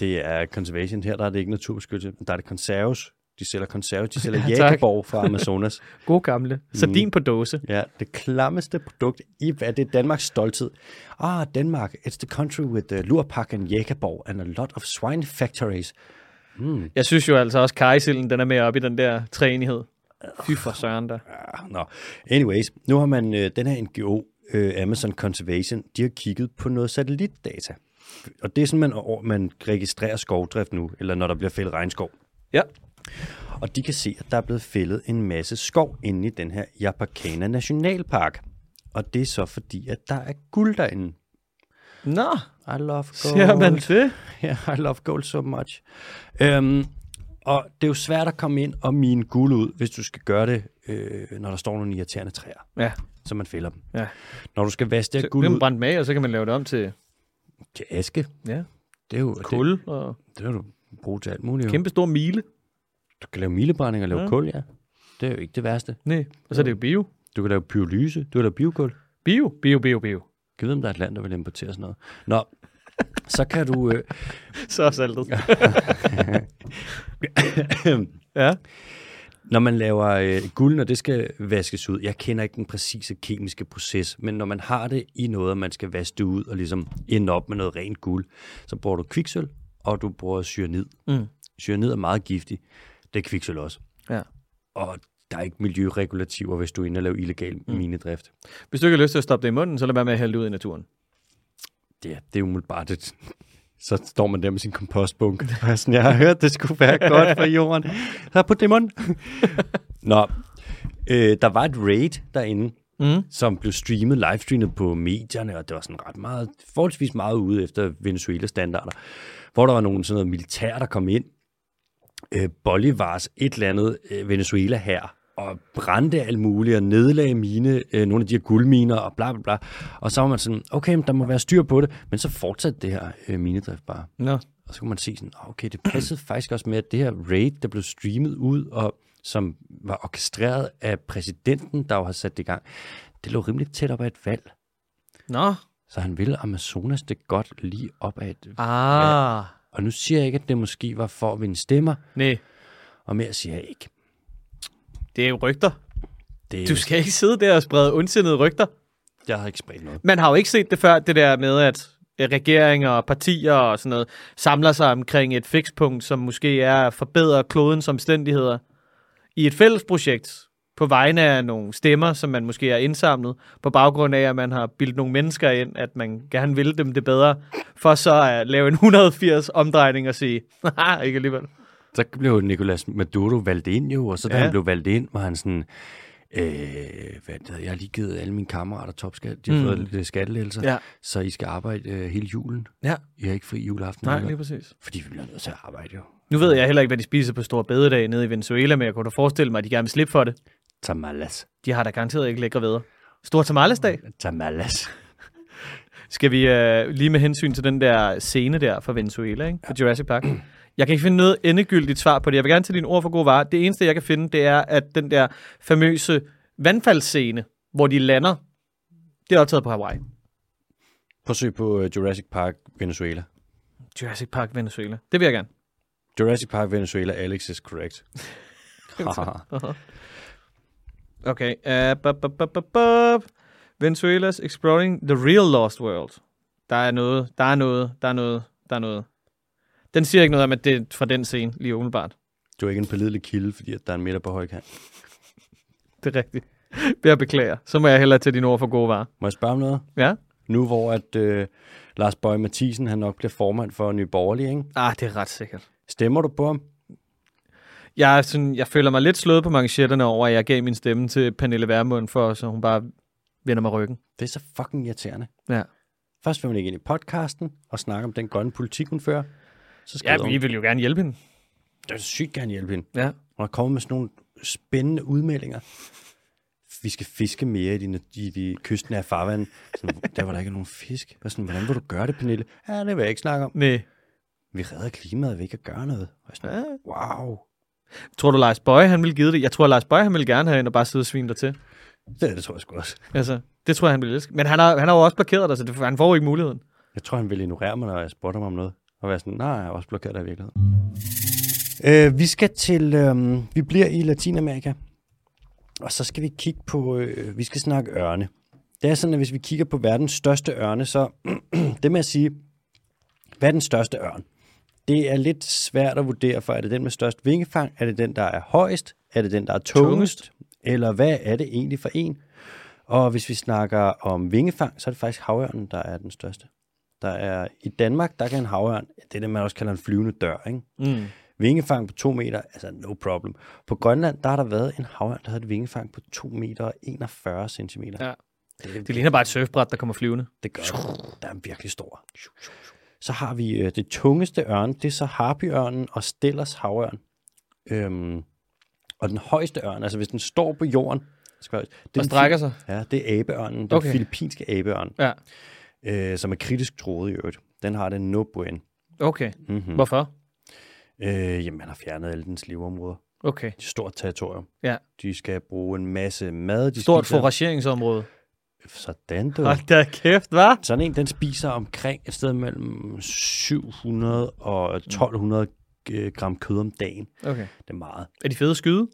Det er Conservation. Her der er det ikke naturbeskyttelse, men der er det konserves. De sælger konserves. De sælger
Ja,
ja,
tak.
jækkeborg fra Amazonas.
God gamle. Sardin på dåse.
Ja, det klammeste produkt i hvad det er Danmarks stolthed. Ah, Danmark, it's the country with the lurpak and jækkeborg and a lot of swine factories.
Jeg synes jo altså også, kajsilden, den er med op i den der træenighed. Fy for søren der.
Ah, Nå, anyways, nu har man øh, den her NGO, øh, Amazon Conservation, de har kigget på noget satellitdata. Og det er sådan, man, over- man registrerer skovdrift nu, eller når der bliver fældet regnskov.
Ja.
Og de kan se, at der er blevet fældet en masse skov inde i den her Japacana Nationalpark. Og det er så fordi, at der er guld derinde.
Nå,
I love
ser
gold.
man det?
Yeah, I love gold so much. Øhm, og det er jo svært at komme ind og mine guld ud, hvis du skal gøre det, øh, når der står nogle irriterende træer,
Ja,
så man fælder dem.
ja.
Når du skal vaske det her
Det
guld
er
ud
brændt med, og så kan man lave det om til
til aske,
ja,
det er jo
kul og
Det, det er jo brugt til alt muligt. jo.
kæmpe stor mile.
Du kan lave mildebrændinger og lave
Ja.
ja. kul, ja. Det er jo ikke det værste.
Nej, og så er det jo bio.
Du kan lave pyrolyse, du kan lave biokul.
Bio, bio, bio, bio.
Kan vide, om der er et land, der vil importere sådan noget. Nå, så kan du... Øh,
Så er saltet. Ja.
når man laver øh, guld, når det skal vaskes ud, jeg kender ikke den præcise kemiske proces, men når man har det i noget, og man skal vaske det ud og ligesom ende op med noget rent guld, så bruger du kviksøl, og du bruger cyanid.
Mm.
Cyanid er meget giftig. Det er kviksøl også.
ja.
Og der er ikke miljøregulativer, hvis du er inde og laver illegal mm. minedrift.
Hvis du ikke har lyst til at stoppe det i munden, så lad være med at hælde det ud i naturen.
Det, er- det er umiddelbart et... Så står man der med sin kompostbunke. og er Sådan, jeg har hørt, det skulle være godt for jorden. Så på det i munden. Nå, øh, der var et raid derinde,
Mm.
som blev streamet, livestreamet på medierne, og det var sådan ret meget, forholdsvis meget ude efter Venezuela-standarder, hvor der var nogle sådan noget militær, der kom ind, øh, Bolivars et eller andet øh, Venezuela her, og brændte alt muligt, og nedlagde mine, øh, nogle af de her guldminer, og bla bla bla. Og så var man sådan, okay, men der må være styr på det, men så fortsatte det her øh, minedrift bare.
Nå.
Og så kunne man se sådan, "Nå, okay, det passede faktisk også med, at det her raid, der blev streamet ud, og som var orkestreret af præsidenten, der jo har sat det i gang, det lå rimelig tæt op ad et valg.
Nå.
Så han ville Amazonas det godt lige op ad et
Ah.
Og nu siger jeg ikke, at det måske var for at vinde stemmer,
Nej,
og mere siger jeg ikke.
det er jo rygter.
Det,
Du skal ikke sidde der og sprede ondsindede rygter.
Jeg har ikke spredt noget.
Man har jo ikke set det før, det der med, at øh, regeringer og partier og sådan noget samler sig omkring et fikspunkt, som måske er at forbedre klodens omstændigheder i et fælles projekt på vegne af nogle stemmer, som man måske har indsamlet, på baggrund af, at man har bildt nogle mennesker ind, at man gerne vil dem det bedre, for så at lave en 180 omdrejning og sige, nej, ikke alligevel.
Så blev Nicolas Maduro valgt ind jo, og så da
Ja.
ja. han blev valgt ind, var han sådan, øh, hvad det, jeg har lige givet alle mine kammerater topskat, de har
Mm.
mm. fået lidt skattelettelser,
Ja.
så I skal arbejde øh, hele julen.
Ja,
I har ikke fri juleaften.
nej,
eller?
lige præcis.
Fordi vi bliver nødt til at arbejde jo.
Nu ved jeg heller ikke, hvad de spiser på store bededag nede i Venezuela, men jeg kunne da forestille mig, at de gerne vil slippe for det.
Tamales.
De har da garanteret ikke lækre veder. Stor tamalesdag.
Tamales.
Skal vi øh, lige med hensyn til den der scene der fra Venezuela, ikke? fra Jurassic Park. Jeg kan ikke finde noget endegyldigt svar på det. Jeg vil gerne tage dine ord for gode varer. Det eneste, jeg kan finde, det er, at den der famøse vandfaldsscene, hvor de lander, det er optaget på Hawaii.
Forsøg på øh, Jurassic Park Venezuela.
Jurassic Park Venezuela. Det vil jeg gerne.
Jurassic Park Venezuela, Alex is correct. Haha.
Okay. Uh, bu- bu- bu- bu- bu- Venezuela's Exploring the Real Lost World. Der er noget, der er noget, der er noget, der er noget. Den siger ikke noget om, at det er fra den scene, lige umiddelbart.
du er ikke en pålidelig kilde, fordi at der er en meter på højkant.
Det er rigtigt. Jeg beklager. Så må jeg hellere tage dine ord for gode varer.
Må jeg spørge om noget?
Ja?
Nu hvor at øh, Lars Bøge Mathisen, han nok bliver formand for Nye Borgerlige, ikke?
Ah, det er ret sikkert.
Stemmer du på ham?
Jeg, er sådan, jeg føler mig lidt slået på manchetterne over, at jeg gav min stemme til Pernille Vermund, for så hun bare vender mig ryggen.
Det er så fucking irriterende.
Ja.
Først vil hun ikke ind i podcasten og snakke om den grønne politik, hun fører. Så skal
Ja,
hun.
vi vil jo gerne hjælpe hende.
Jeg vil sygt gerne hjælpe hende.
Ja.
Hun har kommet med sådan nogle spændende udmeldinger. Vi skal fiske mere i de, i de kystnære farvande. Sådan, der var der ikke nogen fisk. Jeg var sådan, hvordan vil du gøre det, Pernille? Ja, det vil jeg ikke snakke om.
Nej.
Vi redder klimaet ved ikke at gøre noget. Og jeg sådan,
Ja.
wow.
Tror du, Lars Bøje, han ville give det? Jeg tror, Lars Bøje, han ville gerne have ind og bare sidde og svine dig til.
Det, det tror jeg sgu også.
Altså, det tror jeg, han ville elske. Men han har, han har jo også blokeret dig, så det, han får jo ikke muligheden.
Jeg tror, han ville ignorere mig, når jeg spurgte ham om noget. Og være sådan, nej, jeg er også blokeret af virkeligheden. Øh, vi skal til, øh, vi bliver i Latinamerika. Og så skal vi kigge på, øh, vi skal snakke ørne. Det er sådan, at hvis vi kigger på verdens største ørne, så det med at sige, hvad er den største ørn? Det er lidt svært at vurdere, for er det den med størst vingefang? Er det den, der er højest? Er det den, der er tungest?
Tungest.
Eller hvad er det egentlig for en? Og hvis vi snakker om vingefang, så er det faktisk havørnen, der er den største. Der er, I Danmark, der kan en havørn, det er det, man også kalder en flyvende dør, ikke?
Mm.
Vingefang på 2 meter, altså no problem. På Grønland, der har der været en havørn, der havde et vingefang på 2 meter og 41 centimeter.
Ja.
Det,
Det
det,
ligner bare et surfbræt, der kommer flyvende.
det gør det. Der er virkelig stor. Så har vi øh, det tungeste ørn, det er så harpyørnen og Stellers havørn. Øhm, og den højeste ørn, altså hvis den står på jorden, skal jeg- det er
Og
den
strækker sig.
Ja, det er abeørnen, den
Okay.
okay. filippinske abeørn,
Ja.
øh, som er kritisk troet i øvrigt. Den har det no buen.
Okay.
Mm-hmm.
Hvorfor?
Øh, jamen, man har fjernet alle dens leveområder.
Okay.
Et stort territorium.
Ja.
De skal bruge en masse mad. De
Stort
spiser...
forageringsområde.
Sådan, du.
Hold da kæft, hva'?
Sådan en, den spiser omkring et sted mellem 700 og 1200 g- gram kød om dagen.
Okay.
Det er meget.
Er de fede at skyde?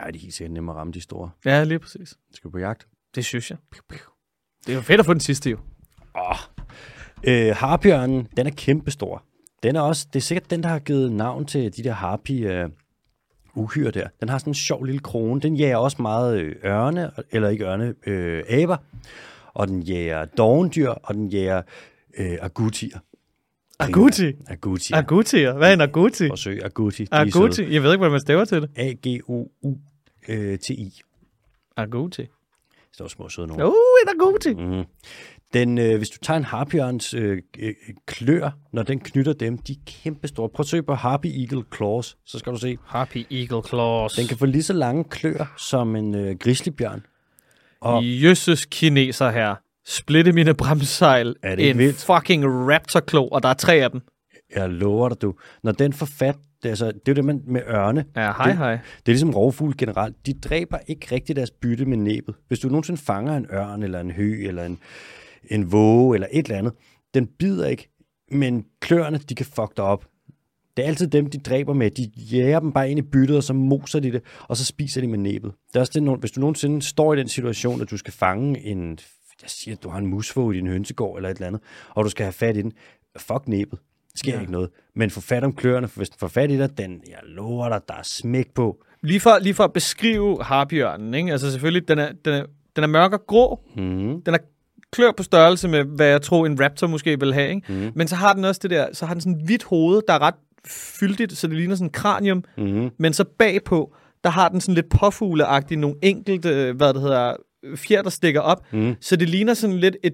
Ej, de er helt sikkert nemmere at ramme de store.
Ja, lige præcis.
Skal vi på jagt?
Det synes jeg. Det er jo fedt at få den sidste, jo.
Øh, harbjørnen, den er kæmpestor. Den er også, det er sikkert den, der har givet navn til de der harpy øh, uhyre der. Den har sådan en sjov lille krone. Den jager også meget øh, ørne, eller ikke ørne, øh, aber. Og den jager dovendyr, og den jager øh, agutier.
Agouti?
Agutier. Ag-
Agutier? Hvad er en agouti?
Forsøg agouti. De er søde.
Agouti? Jeg ved ikke, hvordan man staver til det.
A-G-O-U-T-I.
Agouti.
Det er også små søde nogen.
Uh, en agouti.
Mm. Den, øh, hvis du tager en harpjørns øh, øh, klør, når den knytter dem, de er kæmpestore. Prøv at søge på Harpy Eagle Claws, så skal du se.
Happy Eagle Claws.
Den kan få lige så lange klør som en øh, grizzlybjørn.
Og... Jøsses kineser her. Splitte mine bremsejl.
Er det ikke
en
vildt?
fucking raptorklo, og der er tre af dem.
Jeg lover dig, du. Når den får fat, det, altså, det er jo det man, med ørne.
Ja, hej hej.
Det er ligesom rovfugle generelt. De dræber ikke rigtig deres bytte med næbet. Hvis du nogensinde fanger en ørn, eller en hø, eller en, en våge, eller et eller andet, den bider ikke, men kløerne, de kan fuck dig op. Det er altid dem, de dræber med. De jager dem bare ind i byttet, og så moser de det, og så spiser de med næbet. Det er også det, no- hvis du nogensinde står i den situation, at du skal fange en, jeg siger, at du har en musvåg i din hønsegård eller et eller andet, og du skal have fat i den, fuck næbet. Det sker ja. ikke noget. Men få fat om kløerne, for hvis den får fat i dig, den, jeg lover dig, der er smæk på.
Lige for, lige for at beskrive harbjørnen, ikke? altså selvfølgelig, den er, den er, den er mørk og grå. Mm. Den er klør på størrelse med, hvad jeg tror, en raptor måske vil have. Ikke? Mm. Men så har den også det der, så har den sådan hvidt hoved, der er ret fyldigt, så det ligner sådan en kranium. Mm. Men så bagpå, der har den sådan lidt påfugleagtigt nogle enkelte, øh, hvad det hedder, fjer, der stikker op. Mm. Så det ligner sådan lidt et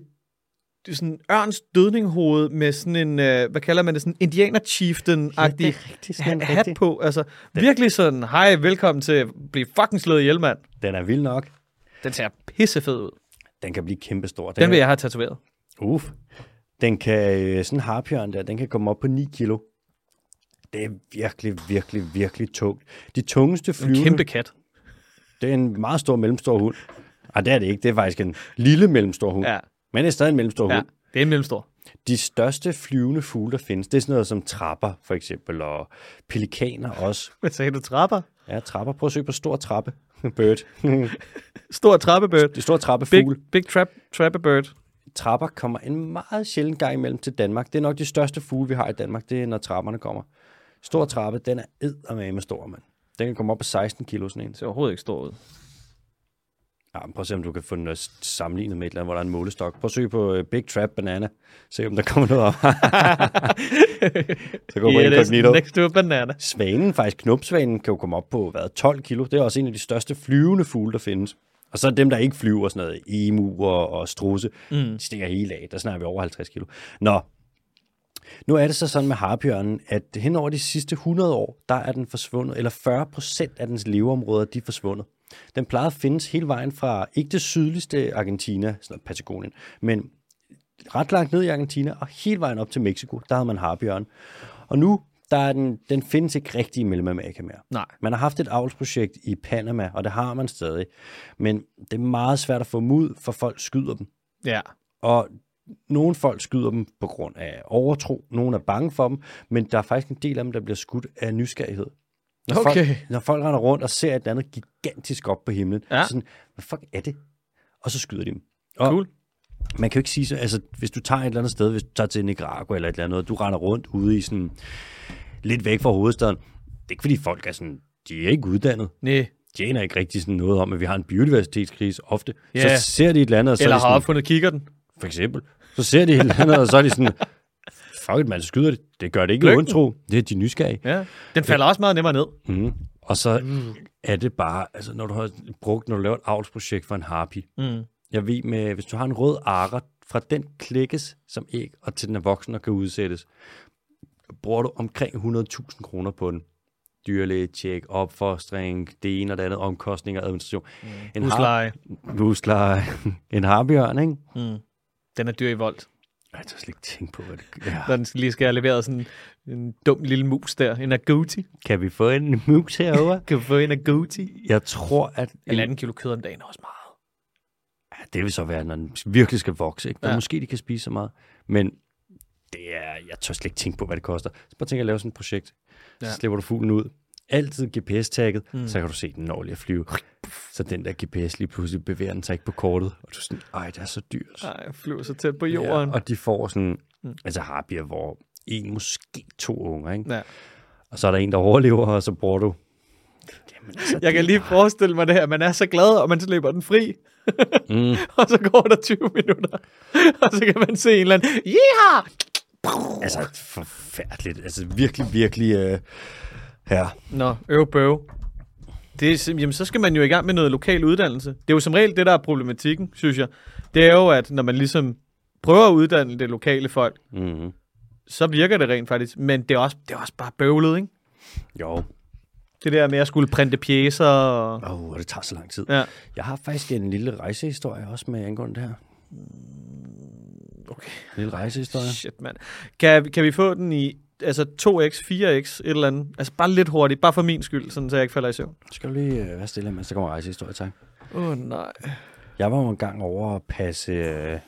det er sådan en ørns dødninghoved med sådan en, øh, hvad kalder man det, sådan indianer chieftain-agtig
rigtig
han hat på. Altså, virkelig sådan, hej, velkommen til at blive fucking slået ihjel, mand.
Den er vild nok.
Den ser pissefed ud.
Den kan blive kæmpestor.
Den vil jeg have tatoveret.
Uf. Den kan, øh, sådan en harpjørn der, den kan komme op på 9 kilo. Det er virkelig, virkelig, virkelig tungt. De tungeste flyvende,
Kæmpe kat.
det er en meget stor mellemstor hund. Ej, det er det ikke. Det er faktisk en lille mellemstor hund.
Ja.
Men det er stadig en mellemstor
Ja,
hund.
det er en mellemstor.
De største flyvende fugle, der findes, det er sådan noget som trapper, for eksempel, og pelikaner også.
Hvad sagde du? Trapper?
Ja, trapper. Prøv at søge på stor trappe. Bird.
Stor trappebird.
Det store
Big,
trappefugl.
big trap, trappebird.
trapper kommer en meget sjældent gang imellem til Danmark. Det er nok de største fugle, vi har i Danmark, det er, når trapperne kommer. Stor trappe, den er eddermame stor, mand. Den kan komme op på 16 kilo, sådan en.
Det ser overhovedet ikke stor ud.
Ja, men prøv at se, om du kan få den øh, sammenlignet med et eller andet, hvor der er en målestok. Prøv at søge på øh, Big Trap Banana. Se, om der kommer noget op. Så går på
Yeah, it is
incognito.
next to a banana.
Svanen, faktisk knopsvanen, kan jo komme op på hvad, 12 kilo. Det er også en af de største flyvende fugle, der findes. Og så dem, der ikke flyver, sådan noget emu og, og strusse, mm. de stikker hele af. Der snakker vi over 50 kilo. Nå, nu er det så sådan med harbjørnen, at hen over de sidste 100 år, der er den forsvundet, eller 40 procent af dens leveområder, de er forsvundet. Den plejede at findes hele vejen fra, ikke det sydligste Argentina, sådan noget Patagonien, men ret langt ned i Argentina, og hele vejen op til Mexico, der havde man harbjørn. Og nu, der er den, den findes ikke rigtig i Mellemamerika mere.
Nej.
Man har haft et avlsprojekt i Panama, og det har man stadig. Men det er meget svært at få dem ud, for folk skyder dem.
Ja.
Og nogle folk skyder dem på grund af overtro, nogle er bange for dem, men der er faktisk en del af dem, der bliver skudt af nysgerrighed. Når,
Okay.
folk, når folk render rundt og ser et eller andet gigantisk op på himlen,
Ja.
så sådan, hvad fuck er det? Og så skyder de dem. Og
Cool.
man kan jo ikke sige så, altså hvis du tager et eller andet sted, hvis du tager til Nicaragua eller et eller andet, og du render rundt ude i sådan, lidt væk fra hovedstaden, det er ikke fordi folk er sådan, de er ikke uddannet,
Næ.
de aner ikke rigtig sådan noget om, at vi har en biodiversitetskrise ofte.
Ja.
Så ser de et eller andet, og så er
Eller
de
har
sådan,
opfundet kikkerten.
for eksempel. Så ser de et eller andet, og så er de sådan, fuck it, man, så skyder det. Det gør det ikke
Lykken.
ondt, tro. Det er de nysgerrige.
Ja. Den falder også meget nemmere ned.
Mm. Og så er det bare, altså når du har brugt, når du laver et avlsprojekt for en harpy. Mm. Jeg ved med, hvis du har en rød arer, fra den klikkes som æg, og til den er voksen og kan udsættes, bruger du omkring 100.000 kroner på den. Dyrlæge, tjek, opfostring, det ene og det andet, omkostninger, administration. Mm. En har-
Husleje.
Husleje. en harbjørn, ikke?
Den er dyr i vold.
Jeg tør slet ikke tænke på, hvad det ja.
når den lige skal have leveret sådan en dum lille mus der. En agouti.
Kan vi få en mus herover?
Kan vi få en agouti?
Jeg tror, at...
Eller anden kilo kød om dagen er også meget.
Ja, det vil så være, når den virkelig skal vokse. Ikke? Men
Ja.
ja. måske de kan spise så meget. Men det er, jeg tør slet ikke tænke på, hvad det koster. Så bare tænk at lave sådan et projekt. Ja.
Ja.
Så slipper du fuglen ud. Altid GPS-tagget, mm. så kan du se den når lige at flyve. Så den der GPS lige pludselig bevæger den sig ikke på kortet. Og du er sådan, ej, det er så dyrt.
Nej, jeg flyver så tæt på jorden.
og de får sådan, mm. altså harpier, hvor en, måske to unger, ikke?
Ja.
Og så er der en, der overlever, og så bruger du... Jamen, altså,
Jeg kan lige forestille mig det her. Man er så glad, og man slipper den fri. Mm. og så går der 20 minutter. og så kan man se en eller anden... Yeehaw!
altså forfærdeligt. Altså virkelig, virkelig... Øh, ja.
Nå, øv bøv. Det er, sim- jamen, så skal man jo i gang med noget lokal uddannelse. Det er jo som regel det, der er problematikken, synes jeg. Det er jo, at når man ligesom prøver at uddanne det lokale folk,
Mm-hmm.
så virker det rent faktisk. Men det er også, det er også bare bøvlet, ikke?
Jo.
Det der med at skulle printe pjæser og...
Åh, oh, det tager så lang tid.
Ja.
Jeg har faktisk en lille rejsehistorie også med angående det her.
Okay.
En lille rejsehistorie.
Shit, mand. Kan, kan vi få den i altså 2x, 4x, et eller andet? Altså bare lidt hurtigt, bare for min skyld, sådan, så jeg ikke falder i søvn.
Skal du lige øh, være stille, mens der kommer rejsehistorie, tak.
Åh, oh, nej.
Jeg var jo en gang over at passe øh,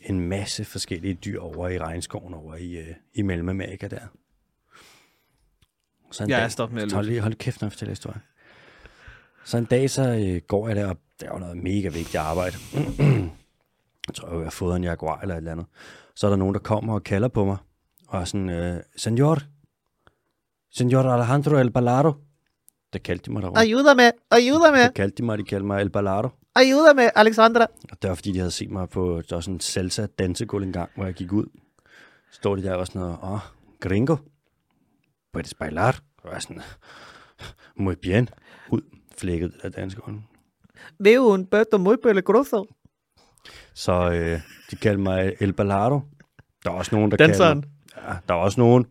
en masse forskellige dyr over i regnskoven over i, øh, i Mellemamerika der. Så en
Jeg er
dag-
stoppet med at
Hold, lige, hold kæft, når jeg fortæller historien. Så en dag, så øh, går jeg der, og der er jo noget mega vigtigt arbejde. jeg tror, jeg har fået en jaguar eller et eller andet. Så er der nogen, der kommer og kalder på mig, og er sådan, øh, senor, senor Alejandro El Balado. Det kaldte de mig derovre.
Ayúdame, ayúdame,
Det kaldte de mig, de kaldte mig El Balado.
ayúdame, Alexandra.
Og det var, fordi de havde set mig på, der var sådan en salsa dansegulv en gang, hvor jeg gik ud. Så stod de der og sådan noget, åh, oh, gringo, puedes bailar. Og jeg var sådan, muy bien, ud, flækket af dansegulven.
Veo un puerto muy peligroso.
Så øh, de kaldte mig El Balado. Der er også nogen, der
Danseren.
kaldte ja, der er også nogen,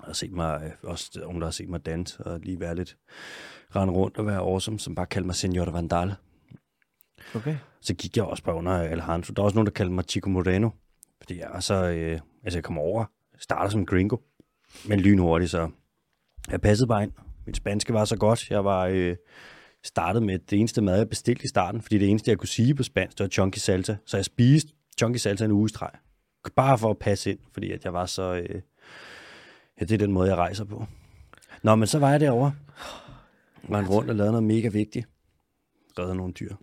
der har set mig, øh, også nogen, der har set mig danse og lige være lidt rende rundt og være awesome, som bare kaldte mig Senor Vandal.
Okay.
Så gik jeg også bare under Alejandro. Der er også nogen, der kaldte mig Chico Moreno. Fordi jeg er så... Øh, altså, jeg kom over, starter som gringo, men lynhurtigt, så jeg passede bare ind. Min spanske var så godt. Jeg var øh, startet med det eneste mad, jeg bestilte i starten, fordi det eneste, jeg kunne sige på spansk, det var chunky salsa. Så jeg spiste chunky salsa en uge i streg. Bare for at passe ind, fordi at jeg var så... Øh, ja, det er den måde, jeg rejser på. Nå, men så var jeg derovre. Rendte rundt og lavede noget mega vigtigt. Redde nogle dyr.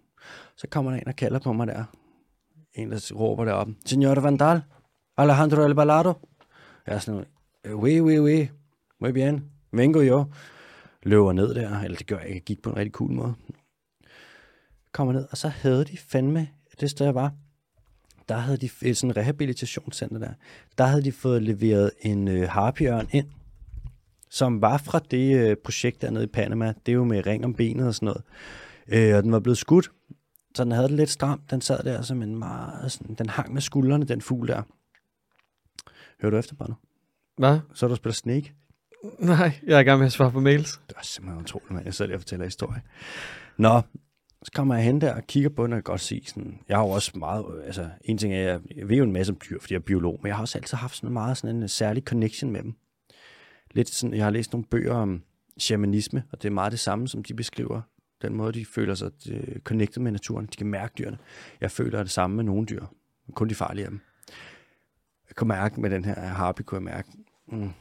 Så kommer der en og kalder på mig der. En, der råber deroppe. Senor Vandal, Alejandro El Balado. Jeg er sådan, "Øh, oui, oui, oui. Muy bien. Vengo yo. Løber ned der, eller det gør jeg ikke. Jeg gik på en rigtig cool måde. Kommer ned, og så havde de fandme det sted, jeg var. Der havde de et sådan rehabilitationscenter der. Der havde de fået leveret en øh, harpjørn ind, som var fra det øh, projekt dernede i Panama. Det er jo med ring om benet og sådan noget. Øh, og den var blevet skudt, så den havde det lidt stramt. Den sad der som en meget... Sådan, den hang med skuldrene, den fugl der. Hører du efter bare nu?
Hvad?
Så er der spiller Snake.
Nej, jeg er i gang med at svare på mails.
Det er simpelthen utroligt, mand. Jeg sidder lige og fortæller historie. Nå, så kommer jeg hen der og kigger på den, og jeg kan godt se sådan, jeg har jo også meget, øh, altså en ting er, jeg, jeg ved jo en masse om dyr, fordi jeg er biolog, men jeg har også altid haft sådan meget sådan en øh, særlig connection med dem. Lidt sådan, jeg har læst nogle bøger om shamanisme, og det er meget det samme, som de beskriver den måde, de føler sig øh, connected med naturen. De kan mærke dyrene. Jeg føler det samme med nogle dyr, men kun de farlige af dem. Jeg kunne mærke med den her harpy, kunne jeg mærke, mm,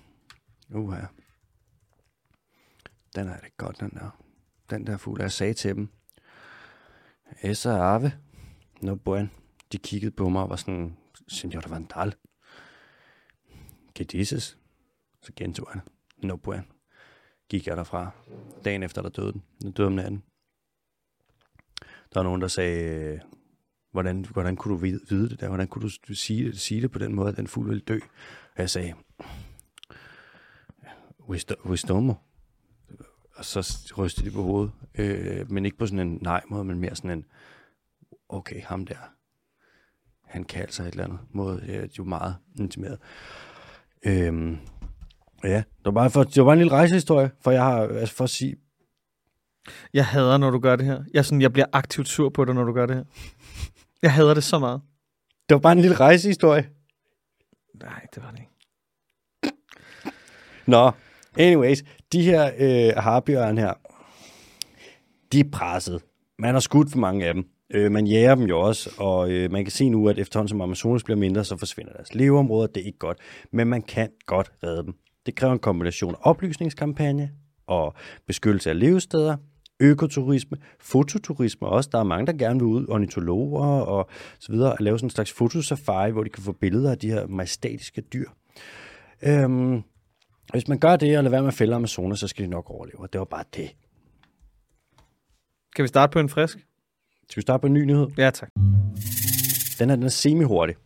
uh, her. Den er det godt, den der. Den der fugl, jeg sagde til dem. Esa Ave. No buen. De kiggede på mig og var sådan, Senor Vandal. Que dices? Så gentog han. No buen. Gik jeg derfra. Dagen efter, der døde den. Den døde om natten. Der var nogen, der sagde, hvordan, hvordan kunne du vide vide det der? Hvordan kunne du s- sige det, sige det på den måde, at den fugl ville dø? Og jeg sagde, "Wisdo- Wisdomo. Og så rystede de på hovedet. Øh, men ikke på sådan en nej måde, men mere sådan en, okay, ham der, han kan altså et eller andet måde. Øh, de er jo meget intimeret. Øhm, ja, det var, bare for, det var bare en lille rejsehistorie, for jeg har, altså for at sige,
Jeg hader, når du gør det her. Jeg, er sådan, jeg bliver aktivt sur på dig, når du gør det her. Jeg hader det så meget.
det var bare en lille rejsehistorie.
Nej, det var det ikke.
Nå, anyways, de her øh, harbjørn her, de er presset. Man har skudt for mange af dem. Øh, man jager dem jo også, og øh, man kan se nu, at efterhånden som Amazonas bliver mindre, så forsvinder deres leveområder. Det er ikke godt, men man kan godt redde dem. Det kræver en kombination af oplysningskampagne og beskyttelse af levesteder, økoturisme, fototurisme også. Der er mange, der gerne vil ud, ornitologer og så videre, at lave sådan en slags fotosafari, hvor de kan få billeder af de her majestatiske dyr. Øhm, hvis man gør det og lader være med at fælde Amazoner, så skal de nok overleve. Og det var bare det.
Kan vi starte på en frisk?
Skal vi starte på en ny nyhed?
Ja, tak.
Den her den er semi-hurtig.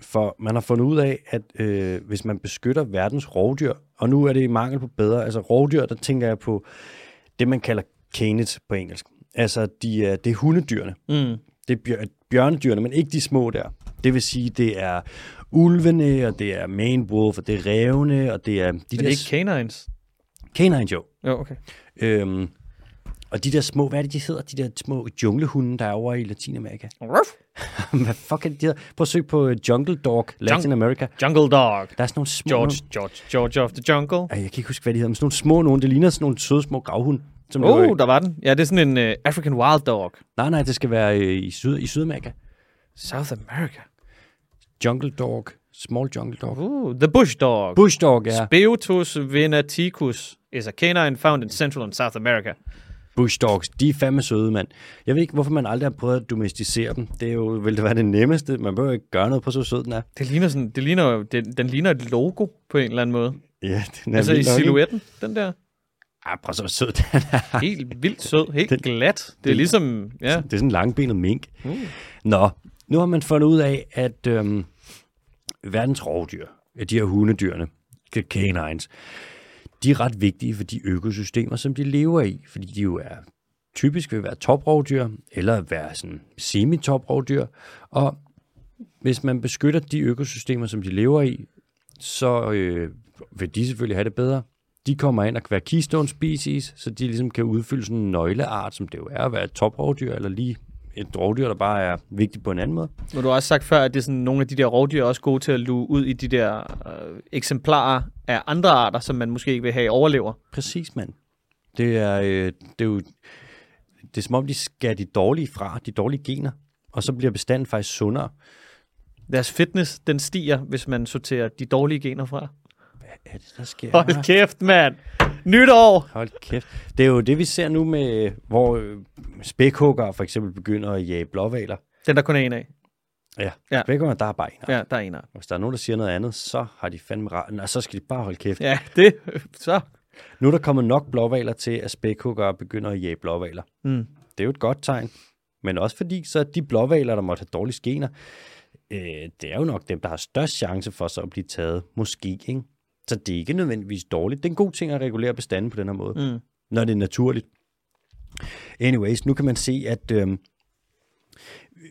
For man har fundet ud af, at øh, hvis man beskytter verdens rovdyr, og nu er det i mangel på bedre, altså rovdyr, der tænker jeg på det, man kalder canids på engelsk. Altså, de er, det er hundedyrene.
Mm.
Det er bjør- bjørnedyrene, men ikke de små der. Det vil sige, det er ulvene, og det er man wolf, og det er rævene, og det er de
Men
der
det er ikke canines?
canine jo.
Jo, okay.
Øhm, og de der små, hvad er det, de hedder? De der små junglehunde, der er over i Latinamerika.
Ruff.
hvad fuck er det, de hedder? Prøv at søge på øh, Jungle Dog Latin America.
Jungle dog.
Der er sådan nogle små...
George, George, George of the Jungle.
Ej, jeg kan ikke huske, hvad de hedder, men sådan nogle små nogen. Det ligner sådan nogle søde små gravhunde. Som lever i-
Oh, der var den. Ja, det er sådan en uh, African Wild Dog.
Nej, nej, det skal være øh, i, Syd i Sydamerika.
South America.
Jungle Dog. Small Jungle Dog.
Ooh, Uh, the Bush Dog.
Bush Dog, ja.
Beotus venaticus is a canine found in Central and South America.
Bush Dogs, de er fandme søde, mand. Jeg ved ikke, hvorfor man aldrig har prøvet at domesticere dem. Det er jo, vil det være det nemmeste. Man behøver ikke gøre noget på, så sød den er.
Det ligner sådan, det ligner, jo- den, den ligner et logo på en eller anden måde.
Ja, den er
altså i
vild nok, ikke?
silhuetten, den der.
Ah, prøv så, hvor sød den er.
Helt vildt sød, helt glat. Det er ligesom, ja.
Det er sådan en langbenet mink. Mm. Nå, nu har man fundet ud af, at øhm, verdens rovdyr, ja, de her hundedyrene, ca- canines, de er ret vigtige for de økosystemer, som de lever i, fordi de jo er typisk vil være toprovdyr, eller være sådan semi-toprovdyr, og hvis man beskytter de økosystemer, som de lever i, så øh, vil de selvfølgelig have det bedre. De kommer ind og kan være keystone species, så de ligesom kan udfylde sådan en nøgleart, som det jo er at være et toprovdyr, eller lige et rovdyr, der bare er vigtigt på en anden måde.
Nu har du også sagt før, at det er sådan, nogle af de der rovdyr er også gode til at luge ud i de der øh, eksemplarer af andre arter, som man måske ikke vil have overlever.
Præcis, mand. Det er, øh, det er jo... Det er som om, de skærer de dårlige fra, de dårlige gener, og så bliver bestanden faktisk sundere.
Deres fitness, den stiger, hvis man sorterer de dårlige gener fra.
Hvad er det, der sker? her?
Hold kæft, mand! Nytår!
Hold kæft. Det er jo det, vi ser nu med, hvor øh, spækhugger for eksempel begynder at jage blåvaler.
Den der kun er en af.
Ja, ja.
Ja.
spækhugger, der er bare en. Ja.
Ja, der er en af.
Hvis der er nogen, der siger noget andet, så har de fandme ret. Og så skal de bare holde kæft. Ja.
Ja, det, så.
Nu er der kommet nok blåvaler til, at spækhugger begynder at jage blåvaler.
Mm.
Det er jo et godt tegn. Men også fordi, så de blåvaler, der måtte have dårlige skener, øh, det er jo nok dem, der har størst chance for så at blive taget. Måske, ikke? Så det er ikke nødvendigvis dårligt. Det er en god ting at regulere bestanden på den her måde.
Mm.
når det er naturligt. Anyways, nu kan man se, at øh,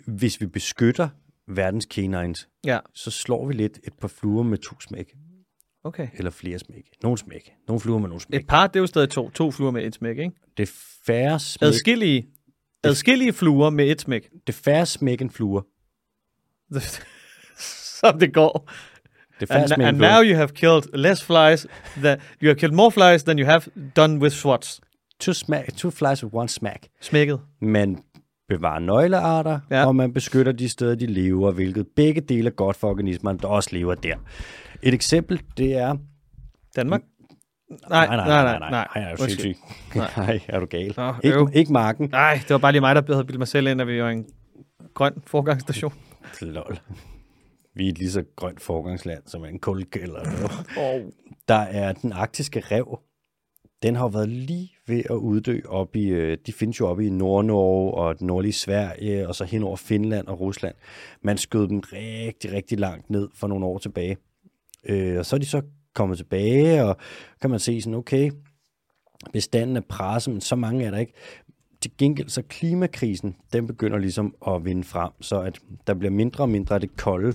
hvis vi beskytter verdens canines,
Ja,
så slår vi lidt et par fluer med to smæk,
okay.
eller flere smæk. Nogle smæk. Nogle fluer med nogle smæk.
Et par, det er jo stadig to. To fluer med et smæk, ikke?
Det er færre smæk,
Adskillige, adskillige fluer med et smæk.
det er færre smæk end fluer.
Som det går.
Det er færre
And,
smæk end
and now
fluer.
you have killed less flies than you have killed more flies than you have done with swats.
Two, smack, two flies with one smack.
Smækket.
Man bevarer nøglearter, ja.
Ja.
og man beskytter de steder, de lever, hvilket begge dele er godt for organismerne, der også lever der. Et eksempel, det er
Danmark? Nej, nej, nej, nej.
nej, nej, er du
Undskyld.
sindssyg? Nej, er du gal?
Nå,
ikke,
øv.
ikke marken.
Nej, det var bare lige mig, der havde bildet mig selv ind, at vi var en grøn forgangsstation.
Lol. Vi er et lige så grønt forgangsland som en kulkælder.
Oh.
Der er den arktiske rev. Den har jo været lige ved at uddø op i, øh, de findes jo oppe i Nord-Norge og den nordlige Sverige, og så hen over Finland og Rusland. Man skød dem rigtig, rigtig langt ned for nogle år tilbage. Øh, og så er de så kommet tilbage, og kan man se sådan, okay, bestanden er presset, men så mange er der ikke. Til gengæld så klimakrisen, den begynder ligesom at vinde frem, så at der bliver mindre og mindre af det kolde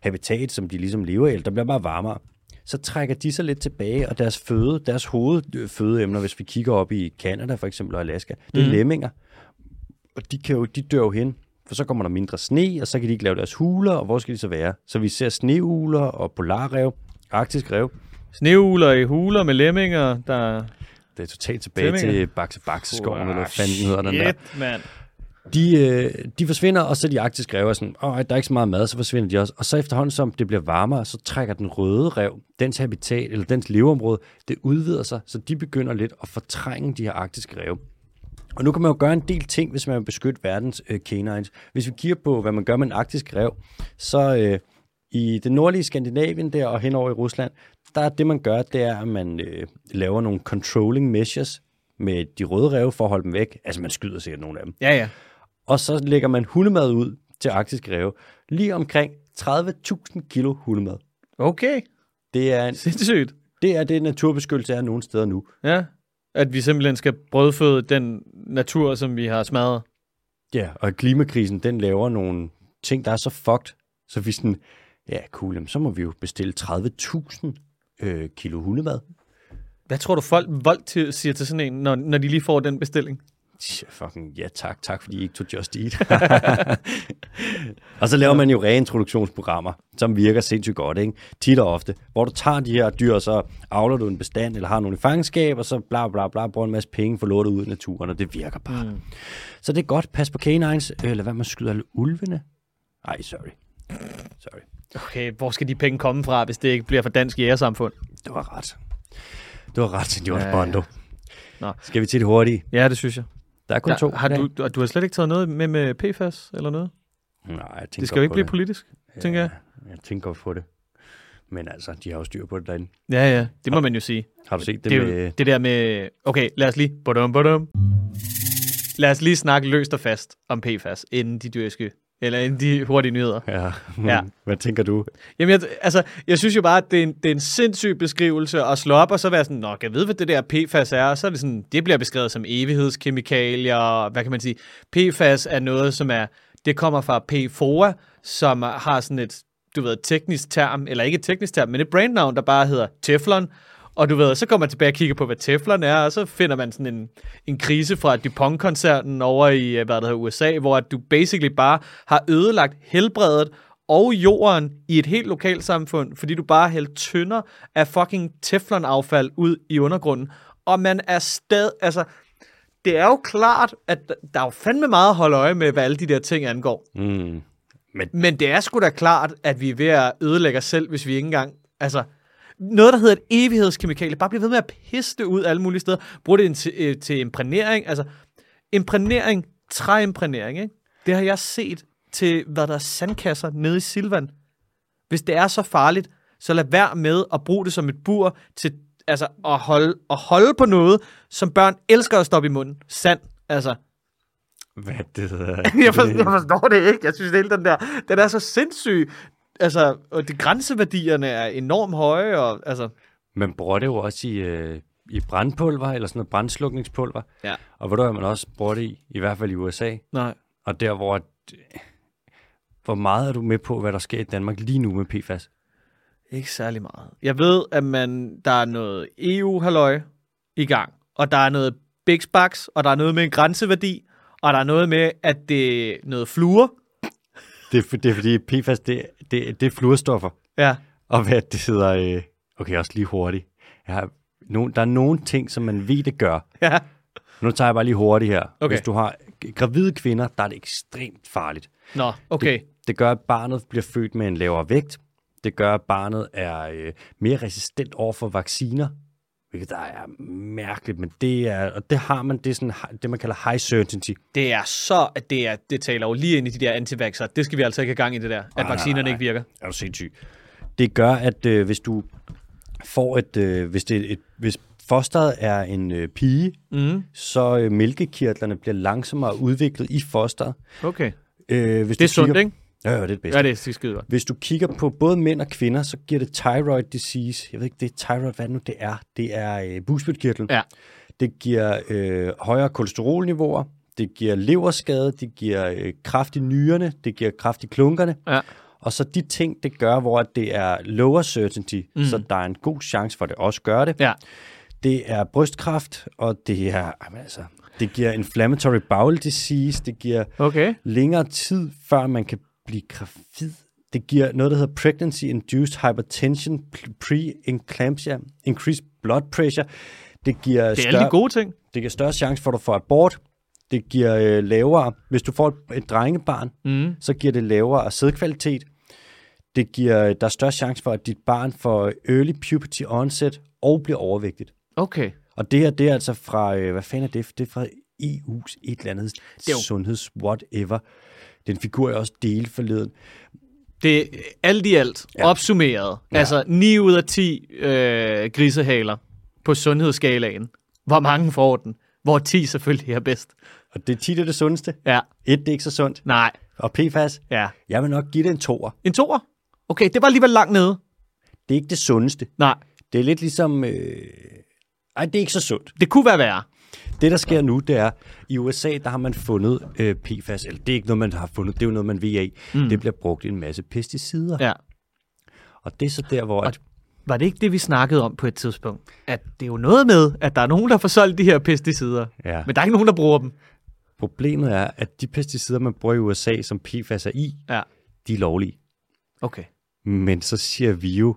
habitat, som de ligesom lever i, eller der bliver bare varmere. Så trækker de sig lidt tilbage, og deres føde, deres hovedfødeemner, hvis vi kigger op i Kanada for eksempel og Alaska, det er mm. lemminger. Og de, kan jo, de dør jo hen, For så kommer der mindre sne, og så kan de ikke lave deres huler, og hvor skal de så være? Så vi ser sneuler og polarrev, arktisk rev.
Sneuler i huler med lemminger, der...
Det er totalt tilbage
Stemmer.
til Bakse Bakse skoven, eller hvad fanden hedder den der.
Shit, mand.
De, øh, de forsvinder, og så de arktiske rev er sådan, åh, der er ikke så meget mad, så forsvinder de også. Og så efterhånden, som det bliver varmere, så trækker den røde rev, dens habitat, eller dens leveområde, det udvider sig, så de begynder lidt at fortrænge de her arktiske rev. Og nu kan man jo gøre en del ting, hvis man vil beskytte verdens øh, canines. Hvis vi kigger på, hvad man gør med en arktisk rev, så øh, i det nordlige Skandinavien der og henover i Rusland, der er det, man gør, det er, at man øh, laver nogle controlling measures med de røde rev for at holde dem væk. Altså, man skyder sikkert nogle af dem
Ja, ja.
og så lægger man hundemad ud til arktiske ræve. Lige omkring 30.000 kilo hundemad.
Okay,
Det er, en,
sindssygt.
det er det, naturbeskyttelse er nogle steder nu.
Ja, at vi simpelthen skal brødføde den natur, som vi har smadret.
Ja, og klimakrisen, den laver nogle ting, der er så fucked, så vi sådan, ja cool, jamen, så må vi jo bestille 30.000 øh, kilo hundemad.
Hvad tror du, folk voldt til, siger til sådan en, når, når de lige får den bestilling?
Tja, Fucking ja tak, tak fordi I ikke tog Just Eat. og så laver man jo reintroduktionsprogrammer, som virker sindssygt godt, ikke? Tit og ofte, hvor du tager de her dyr, og så avler du en bestand, eller har nogle i fangenskab, og så bla bla bla, bruger en masse penge, får lortet ud i naturen, og det virker bare. Mm. Så det er godt, pas på canines, øh, lad være med at skyde alle ulvene. Ej, sorry. Sorry.
Okay, hvor skal de penge komme fra, hvis det ikke bliver fra Dansk Jægersamfund?
Det var ret. Det var ret, senior
Ja, ja.
ja. Bondo.
Nå.
Skal vi til det hurtige?
Ja, det synes jeg.
Der er kun ja, to.
Ja, har
i dag.
du, og du har slet ikke taget noget med med PFAS eller noget?
Nej, jeg tænker
Det skal jo
på
ikke blive politisk, tænker jeg.
Jeg tænker godt på det. Men altså, de har jo styr på det derinde.
Ja, ja, det må man jo sige.
Har du set det,
Det, er
med...
jo, det der med... Okay, lad os lige... Badum, badum. Lad os lige snakke løst og fast om PFAS, inden de dyrske... Eller inden de hurtige nyheder.
Ja.
Ja.
Hvad tænker du?
Jamen, jeg, altså, jeg synes jo bare, at det er en, det er en sindssyg beskrivelse at slå op, og så være sådan, nå, kan jeg vide, hvad det der PFAS er? Og så er det sådan, det bliver beskrevet som evighedskemikalier, og hvad kan man sige? PFAS er noget, som er, det kommer fra PFOA, som har sådan et, du ved, teknisk term, eller ikke et teknisk term, men et brandnavn, der bare hedder Teflon. Og du ved, så kommer man tilbage og kigger på, hvad Teflon er, og så finder man sådan en, en krise fra DuPont-koncernen over i, øh, hvad det hedder, USA, hvor at du basically bare har ødelagt helbredet og jorden i et helt lokalsamfund, fordi du bare hældte tynder af fucking teflonaffald ud i undergrunden. Og man er stadig, altså, det er jo klart, at der er jo fandme meget at holde øje med, hvad alle de der ting angår.
Mm.
Men det er sgu da klart, at vi er ved at ødelægge os selv, hvis vi ikke engang... Altså, noget, der hedder et evighedskemikalie, bare bliver ved med at pisse det ud alle mulige steder. Brug det til, øh, til imprægnering. Altså, imprægnering, træimprægnering, ikke? Det har jeg set til, hvad der er sandkasser nede i Silvan. Hvis det er så farligt, så lad være med at bruge det som et bur til altså, at, holde, at holde på noget, som børn elsker at stoppe i munden. Sand, altså.
Hvad det hedder?
jeg, forstår, jeg forstår det ikke. Jeg synes, hele den der, den er så sindssyg. Altså, og de grænseværdierne er enormt høje, og altså...
Man bruger det jo også i, øh, i brandpulver, eller sådan noget brandslukningspulver.
Ja.
Og hvor der man også bruger det i, i hvert fald i USA.
Nej.
Og der, hvor... at- øh, Hvor meget er du med på, hvad der sker i Danmark lige nu med PFAS?
Ikke særlig meget. Jeg ved, at man, der er noget EU-halløj i gang, og der er noget Big Bucks, og der er noget med en grænseværdi, og der er noget med, at det er noget fluer.
Det er, for- det er fordi PFAS, det, det, det er fluorstoffer.
Ja.
Og hvad det hedder... Øh, okay, også lige hurtigt. Jeg har, nogen, der er nogle ting, som man ved, det gør,
ja.
Nu tager jeg bare lige hurtigt her.
Okay.
Okay. Hvis du har gravide kvinder, der er det ekstremt farligt.
Nå, okay.
Det, det gør, at barnet bliver født med en lavere vægt. Det gør, at barnet er øh, mere resistent over for vacciner, hvilket der er mærkeligt, men det er, og det har man, det er sådan, det man kalder high certainty.
Det er så, at det, er, det taler jo lige ind i de der antivaxer. Det skal vi altså ikke have gang i det der, at
nej,
vaccinerne
nej.
ikke virker.
Er du sindssyg? Det gør, at øh, hvis du får et, øh, hvis, det er et, hvis fosteret er en øh, pige, mm. så øh, mælkekirtlerne bliver langsommere udviklet i fosteret.
Okay.
Øh, hvis
Det er
du kigger-
sundt, ikke?
Ja, ja, det er det bedste.
Ja, det er skide godt.
Hvis du kigger på både mænd og kvinder, så giver det thyroid disease. Jeg ved ikke, det er thyroid, hvad er det nu det er. Det er øh, bugspytkirtlen.
Ja.
Det giver øh, højere kolesterolniveauer. Det giver leverskade. Det giver øh, kraft i nyrerne. Det giver kraft i klunkerne.
Ja.
Og så de ting, det gør, hvor at det er lower certainty, mm. så der er en god chance for, at det også gør det.
Ja.
det er brystkræft, og det er, jamen altså, det giver inflammatory bowel disease, det giver
Okay.
længere tid, før man kan blive gravid. Det giver noget, der hedder pregnancy-induced hypertension, pre-eclampsia, increased blood pressure. Det giver
Det er alle de gode ting.
det giver større chance for, at du får abort. Det giver øh, lavere, hvis du får et, et drengebarn,
Mm.
så giver det lavere sædkvalitet. Det giver, øh, der er større chance for, at dit barn får early puberty onset og bliver overvægtigt.
Okay.
Og det her, det er altså fra, øh, hvad fanden er det? Det er fra EU's et eller andet
er
jo.
jo-
sundheds whatever. Den figur jeg også delte forleden.
Det er alt i alt ja. opsummeret. Ja. Altså 9 ud af 10 øh, grisehaler på sundhedsskalaen. Hvor mange får den? Hvor 10 selvfølgelig er bedst.
Og det er tit er det sundeste.
Ja,
Et, det er ikke så sundt.
nej,
Og PFAS,
ja.
jeg vil nok give det en toer.
En toer? Okay, det var alligevel langt nede.
Det er ikke det sundeste.
Nej,
Det er lidt ligesom... Øh... Ej, det er ikke så sundt.
det kunne være værre.
Det, der sker nu, det er, i USA, der har man fundet øh, PFAS, eller det er ikke noget, man har fundet, det er jo noget, man ved af. Mm. Det bliver brugt i en masse pesticider. Ja.
Ja.
Og det er så der, hvor... At,
Var det ikke det, vi snakkede om på et tidspunkt? At det er jo noget med, at der er nogen, der får solgt de her pesticider.
ja.
Men der er ikke nogen, der bruger dem.
Problemet er, at de pesticider, man bruger i USA, som PFAS er i,
Ja,
de er lovlige.
okay.
Men så siger vi jo,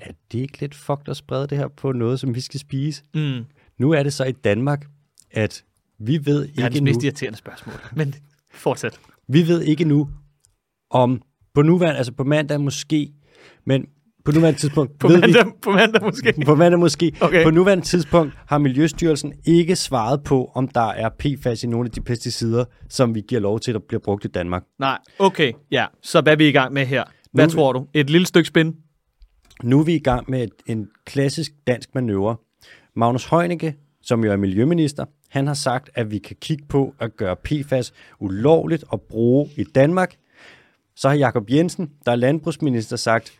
at det er ikke lidt fucked at sprede det her på noget, som vi skal spise.
Mm.
Nu er det så i Danmark, at vi ved
Det er
ikke
det
nu,
mest irriterende spørgsmål. Men fortsæt.
vi ved ikke nu, om på nuværende, altså på mandag måske, men på nuværende tidspunkt
På
ved vi,
mandag, på mandag måske.
På mandag måske.
Okay.
På nuværende tidspunkt har Miljøstyrelsen ikke svaret på, om der er PFAS i nogle af de pesticider, som vi giver lov til, der bliver brugt i Danmark.
Nej, okay. Ja, så hvad er vi i gang med her? Hvad
Nu-
tror du? Et lille stykke spin?
Nu er vi i gang med et, en klassisk dansk manøvre. Magnus Heunicke, som jo er miljøminister, han har sagt, at vi kan kigge på at gøre PFAS ulovligt at bruge i Danmark. Så har Jakob Jensen, der er landbrugsminister, sagt,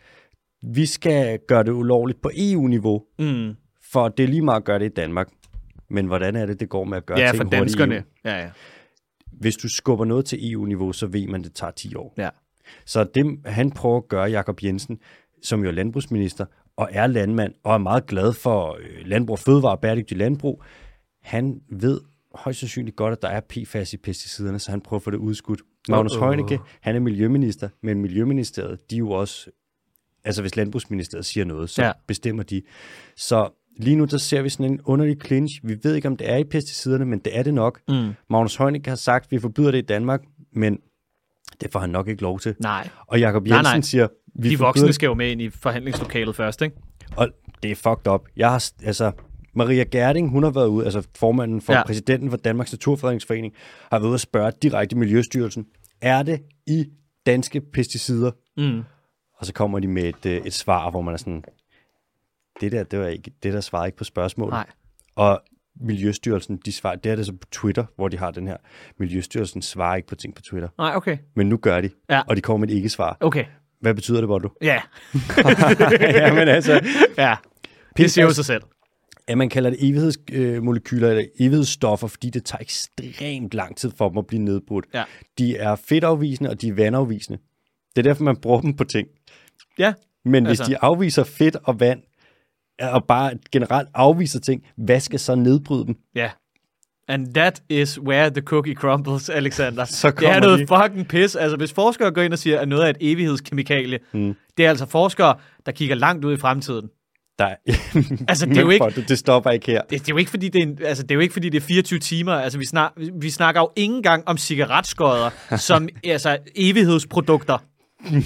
vi skal gøre det ulovligt på EU-niveau,
Mm.
for det er lige meget at gøre det i Danmark. Men hvordan er det, det går med at gøre
Ja,
ting
for
hurtigt i E
danskerne. Ja, ja.
hvis du skubber noget til EU-niveau, så ved man, at det tager 10 år.
ja.
Så det, han prøver at gøre, Jakob Jensen, som jo er landbrugsminister og er landmand og er meget glad for øh, landbrug, fødevare og bæredygtig landbrug, han ved højst sandsynligt godt, at der er PFAS i pesticiderne, så han prøver at få det udskudt. Magnus
Uh-oh.
uh-oh. Heunicke, han er miljøminister, men Miljøministeriet, de er jo også, altså hvis Landbrugsministeriet siger noget, så
Ja.
ja. bestemmer de. Så lige nu, der ser vi sådan en underlig clinch. Vi ved ikke, om det er i pesticiderne, men det er det nok.
Mm.
Magnus Heunicke har sagt, at vi forbyder det i Danmark, men det får han nok ikke lov til.
Nej.
Og Jakob
Nej,
Jensen
nej.
siger, vi
De
forbyder
voksne
det.
skal jo med ind i forhandlingslokalet først, ikke?
Og det er fucked up. Jeg har, altså, Maria Gerding, hun har været ude, altså formanden for
Ja.
ja. præsidenten for Danmarks Naturfredningsforening, har været ude og spørge direkte Miljøstyrelsen, er det i danske pesticider?
Mm.
Og så kommer de med et, øh, et svar, hvor man er sådan, det der, det var ikke, det der svarede ikke på spørgsmålet.
Nej.
Og Miljøstyrelsen, de svarer, det er det så på Twitter, hvor de har den her, Miljøstyrelsen svarer ikke på ting på Twitter.
Nej, okay.
Men nu gør de,
Ja.
og de kommer med et ikke-svar.
Okay.
Hvad betyder det, Bordo?
Ja.
Jamen altså,
ja. Det siger jo sig selv.
at man kalder det evighedsmolekyler eller evighedsstoffer, fordi det tager ekstremt lang tid for dem at blive nedbrudt.
Ja.
De er fedtafvisende, og de er vandafvisende. Det er derfor, man bruger dem på ting.
Ja.
Men altså.
Altså.
hvis de afviser fedt og vand, og bare generelt afviser ting, hvad skal så nedbryde dem?
Ja. And that is where the cookie crumbles, Alexander.
Så
det er
kommer
noget
de.
fucking pis. Altså, hvis forskere går ind og siger, at noget er et evighedskemikalie, mm. det er altså forskere, der kigger langt ud i fremtiden.
Der er,
Altså, det er jo
Men
ikke-
for Det, det stopper ikke her.
Det, det, er jo ikke, fordi det er, en, altså, det er jo ikke, fordi det er 24 timer. Altså, vi, snak, vi snakker jo ikke engang om cigaretskodder som altså, evighedsprodukter.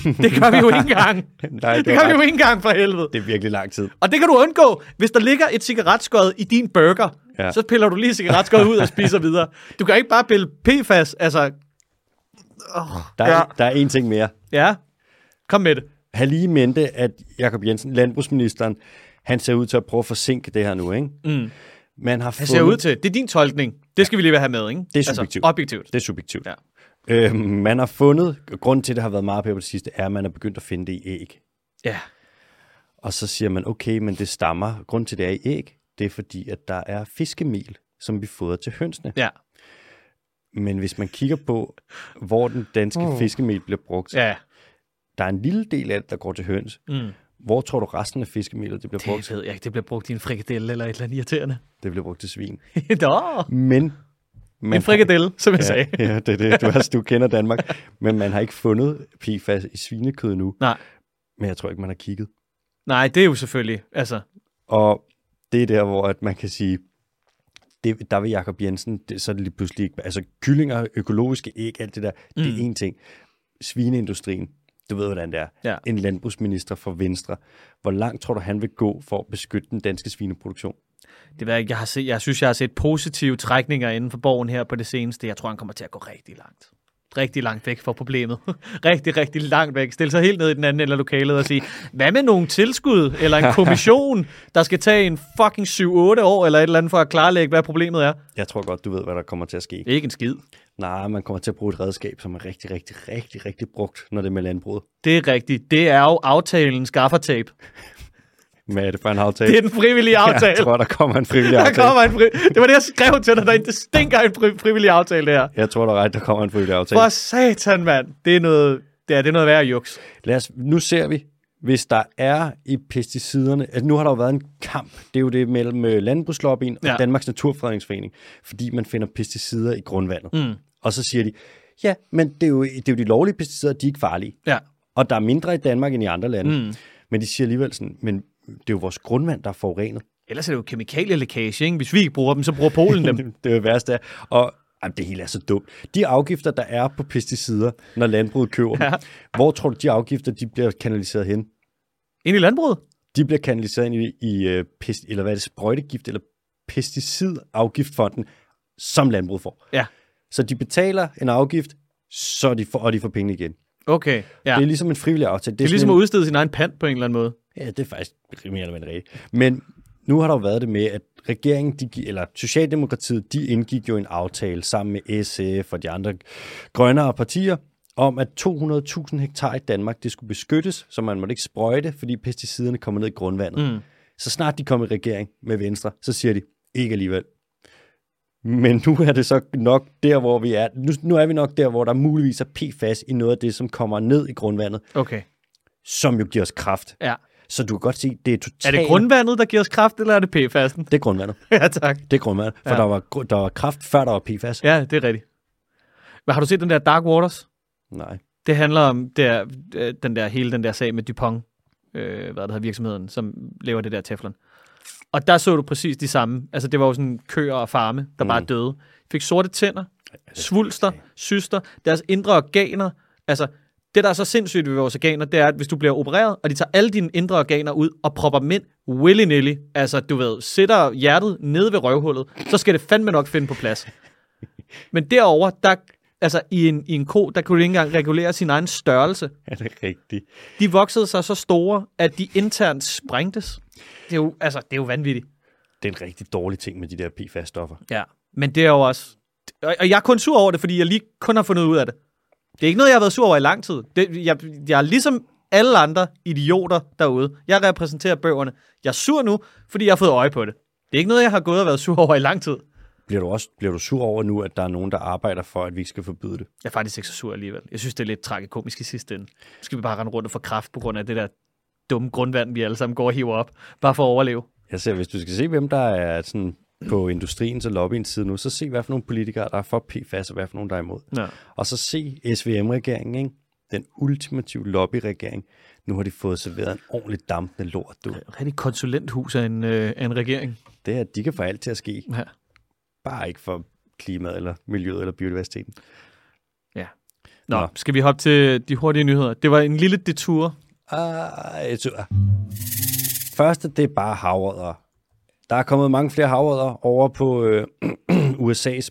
Det gør vi jo ikke engang.
Nej,
det
det er
gør vi
ret.
jo ikke engang for helvede.
Det er virkelig lang tid.
Og det kan du undgå, hvis der ligger et cigaretskod i din burger. Ja.
Ja.
Så piller du lige cigaretskod ud og spiser videre. Du kan ikke bare pille PFAS. Altså,
Der er,
Ja.
ja. der er én ting mere.
ja. Kom med det.
Have lige i mente, at Jakob Jensen, landbrugsministeren, han ser ud til at prøve at forsinke det her nu, ikke? Mm. Man har
Det
fundet,
ser ud til. Det er din tolkning. Det skal vi lige have med, ikke?
Det er subjektivt.
Altså, objektivt.
Det er subjektivt.
Ja.
Øh, man har fundet, grunden til, at det har været meget på det sidste, er, at man er begyndt at finde det i æg.
Ja.
Og så siger man, okay, men det stammer, grunden til, det er i æg, det er fordi, at der er fiskemel, som vi fodrer til hønsene.
Ja.
Men hvis man kigger på, hvor den danske fiskemel bliver brugt,
Uh. Ja.
der er en lille del af det, der går til høns,
Mm.
Hvor tror du resten af fiskemelet det bliver brugt?
Det ved jeg ikke. Det bliver brugt i en frikadelle eller et eller andet irriterende.
Det bliver brugt til svin.
Nå,
Men... Man
en frikadelle, som jeg
ja,
sagde.
ja, det er det. Du, altså, du kender Danmark. Men man har ikke fundet PFAS i svinekød nu.
Nej.
Men jeg tror ikke, man har kigget.
Nej, det er jo selvfølgelig. Altså,
Og det er der, hvor at man kan sige, det, der vil Jacob Jensen, det, så er det lige pludselig ikke, altså kyllinger, økologiske æg, alt det der, mm. det er én ting. Svineindustrien, du ved, hvordan det er.
Ja.
En landbrugsminister fra Venstre. Hvor langt tror du, han vil gå for at beskytte den danske svineproduktion?
det ved jeg ikke. Jeg, har set, jeg synes, jeg har set positive trækninger inden for borgen her på det seneste. Jeg tror, han kommer til at gå rigtig langt. Rigtig langt væk fra problemet. rigtig, rigtig langt væk. Stille sig helt ned i den anden ende af lokalet og sige, hvad med nogle tilskud eller en kommission, der skal tage en fucking 7-8 år eller et eller andet for at klarlægge, hvad problemet er?
Jeg tror godt, du ved, hvad der kommer til at ske.
Ikke en skid.
Nej, man kommer til at bruge et redskab, som er rigtig, rigtig, rigtig, rigtig brugt, når det er med landbruget.
Det er rigtigt. Det er jo aftalen skaffertape.
Hvad er det for en aftale?
Det er den frivillige aftale.
Jeg tror, der kommer en frivillig
Der
aftale.
kommer en fri... Det var det, jeg skrev til dig derinde. Det stinker af en fri- frivillig aftale, det her.
Jeg tror, der er ret, der kommer en frivillig aftale.
For satan, mand. Det er noget, det er, det er noget værre juks.
Lad os, nu ser vi, hvis der er i pesticiderne, altså nu har der jo været en kamp, det er jo det mellem øh, landbrugslobbyen og
Ja.
ja. Danmarks Naturfredningsforening, fordi man finder pesticider i grundvandet. Mm. Og så siger de, ja, men det er, jo, det er jo de lovlige pesticider, de er ikke farlige.
Ja.
Og der er mindre i Danmark end i andre lande. Mm. Men de siger alligevel sådan, men det er jo vores grundvand, der er forurenet.
Ellers er det jo kemikalielækage, ikke? Hvis vi ikke bruger dem, så bruger Polen dem.
det er jo værst af. Og jamen, det hele er så dumt. De afgifter, der er på pesticider, når landbruget køber ja.
Ja.
dem, hvor tror du, de afgifter de bliver kanaliseret hen?
Ind i landbruget?
de bliver kanaliseret ind i, i øh, pest, eller hvad er det, sprøjtegift eller pesticidafgiftfonden, som landbruget får.
Ja.
Så de betaler en afgift, så de får, og de får penge igen. Ja.
Okay. Ja.
Det er
Det
ligesom en frivillig aftale.
er
sådan
ligesom at
en,
udstede sin egen pant på en eller anden måde.
Ja, det er faktisk mere eller mindre rigtigt. Men nu har der jo været det med, at regeringen, de, gi- eller Socialdemokratiet, de indgik jo en aftale sammen med SF og de andre grønnere partier, om at 200.000 hektar i Danmark, det skulle beskyttes, så man måtte ikke sprøjte, fordi pesticiderne kommer ned i grundvandet. Mm. Så snart de kom i regering med Venstre, så siger de, ikke alligevel. Men nu er det så nok der, hvor vi er. Nu, nu er vi nok der, hvor der muligvis er PFAS i noget af det, som kommer ned i grundvandet,
Okay.
som jo giver os kraft.
Ja.
Så du kan godt se, det er totalt...
Er det grundvandet, der giver os kraft, eller er det PFAS'en?
Det er grundvandet.
ja, tak.
Det er grundvandet. For
Ja.
ja. der, var, gru- der var kraft, før der var PFAS. Ja.
Ja, det er rigtigt. Men har du set den der Dark Waters?
Nej.
Det handler om der, øh, den der, hele den der sag med Dupont, øh, hvad det hedder, virksomheden, som laver det der Teflon. Og der så du præcis de samme. Altså, det var jo sådan køer og farme, der mm. bare døde. Fik sorte tænder, svulster, syster, deres indre organer. Altså, det, der er så sindssygt ved vores organer, det er, at hvis du bliver opereret, og de tager alle dine indre organer ud og propper dem ind willy-nilly, altså, du ved, sætter hjertet nede ved røvhullet, så skal det fandme nok finde på plads. Men derover der, altså i en, i en ko, der kunne de ikke engang regulere sin egen størrelse.
Er det rigtigt?
De voksede sig så store, at de internt sprængtes. Det er jo, altså, det er jo vanvittigt.
Det er en rigtig dårlig ting med de der PFAS-stoffer.
Ja. Men det er jo også... Og, og jeg er kun sur over det, fordi jeg lige kun har fundet ud af det. Det er ikke noget, jeg har været sur over i lang tid. Det, jeg, jeg er ligesom alle andre idioter derude. Jeg repræsenterer bøgerne. Jeg er sur nu, fordi jeg har fået øje på det. Det er ikke noget, jeg har gået og været sur over i lang tid.
Bliver du, også, bliver du sur over nu, at der er nogen, der arbejder for, at vi ikke skal forbyde det?
Jeg er faktisk ikke så sur alligevel. Jeg synes, det er lidt tragikomisk i sidste ende. Nu skal vi bare rende rundt og få kraft på grund af det der dumme grundvand, vi alle sammen går og hiver op, bare for at overleve.
Jeg ser, hvis du skal se, hvem der er sådan på industriens og lobbyens side nu, så se, hvad for nogle politikere, der er for PFAS, og hvad for nogle, der er imod.
Ja.
Og så se SVM-regeringen, ikke? den ultimative lobbyregering. Nu har de fået serveret en ordentlig dampende lort. Du.
Rigtig konsulenthus af en, øh, af en regering.
Det her, de kan få alt til at ske.
Ja.
Bare ikke for klimaet, eller miljøet, eller biodiversiteten.
ja. Nå,
Nå.
skal vi hoppe til de hurtige nyheder? Det var en lille detur.
Ah, et sur. Første, det er bare havrødder. Der er kommet mange flere havrødder over på øh, USA's.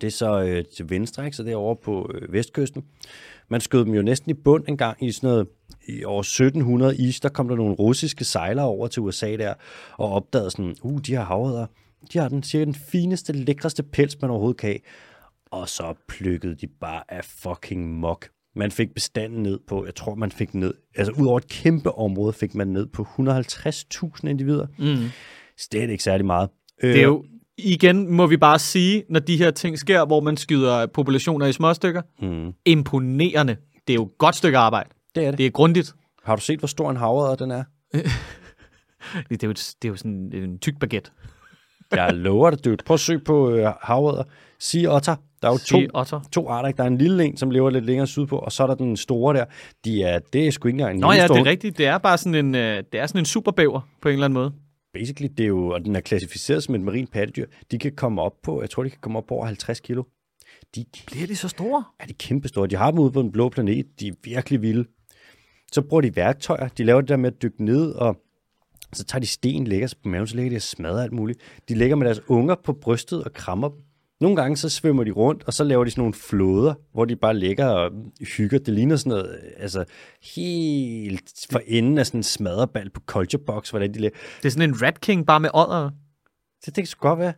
Det er så øh, til venstre, ikke? så det er over på øh, vestkysten. Man skød dem jo næsten i bund en gang i sådan noget i år 1700 is, der kom der nogle russiske sejlere over til USA der, og opdagede sådan, uh, de her havrødder, de har den cirka den fineste, lækreste pels, man overhovedet kan have. Og så plukkede de bare af fucking mok. Man fik bestanden ned på, jeg tror, man fik ned, altså ud over et kæmpe område, fik man ned på 150.000 individer. Mm. Så det er ikke særlig meget. Øh,
Det er jo, igen må vi bare sige, når de her ting sker, hvor man skyder Hmm. populationer i småstykker, mm. imponerende. Det er jo et godt stykke arbejde.
Det er det.
Det er grundigt.
Har du set, hvor stor en havredder den er?
Det er jo, et, det er jo sådan en tyk baguette.
Jeg lover det, dude. Prøv at søg på øh, havredder. Sea otter. Der er jo to,
Sea otter.
to arter. ikke? Der er en lille en, som lever lidt længere sydpå, og så er der den store der. De er, det er sgu ikke engang en
Nå ja,
lille
det
stor-
er rigtigt. Det er bare sådan en, øh, det er sådan en superbæver på en eller anden måde.
Basically, det er jo, og den er klassificeret som et marin pattedyr. De kan komme op på, jeg tror, de kan komme op på over 50 kilo. De er
Bliver de så store?
er de kæmpestore. De har dem ude på den blå planet. De er virkelig vilde. Så bruger de værktøjer. De laver det der med at dykke ned, og så tager de sten, lægger sig på maven, så ligger de og smadrer alt muligt. De lægger med deres unger på brystet og krammer dem. Nogle gange så svømmer de rundt, og så laver de sådan nogle floder, hvor de bare ligger og hygger. Det ligner sådan noget, altså helt for enden af sådan en smadrebal på Culture Box, hvordan de ligger.
Det er sådan en Rat King bare med ådder.
Så det kan sgu godt være.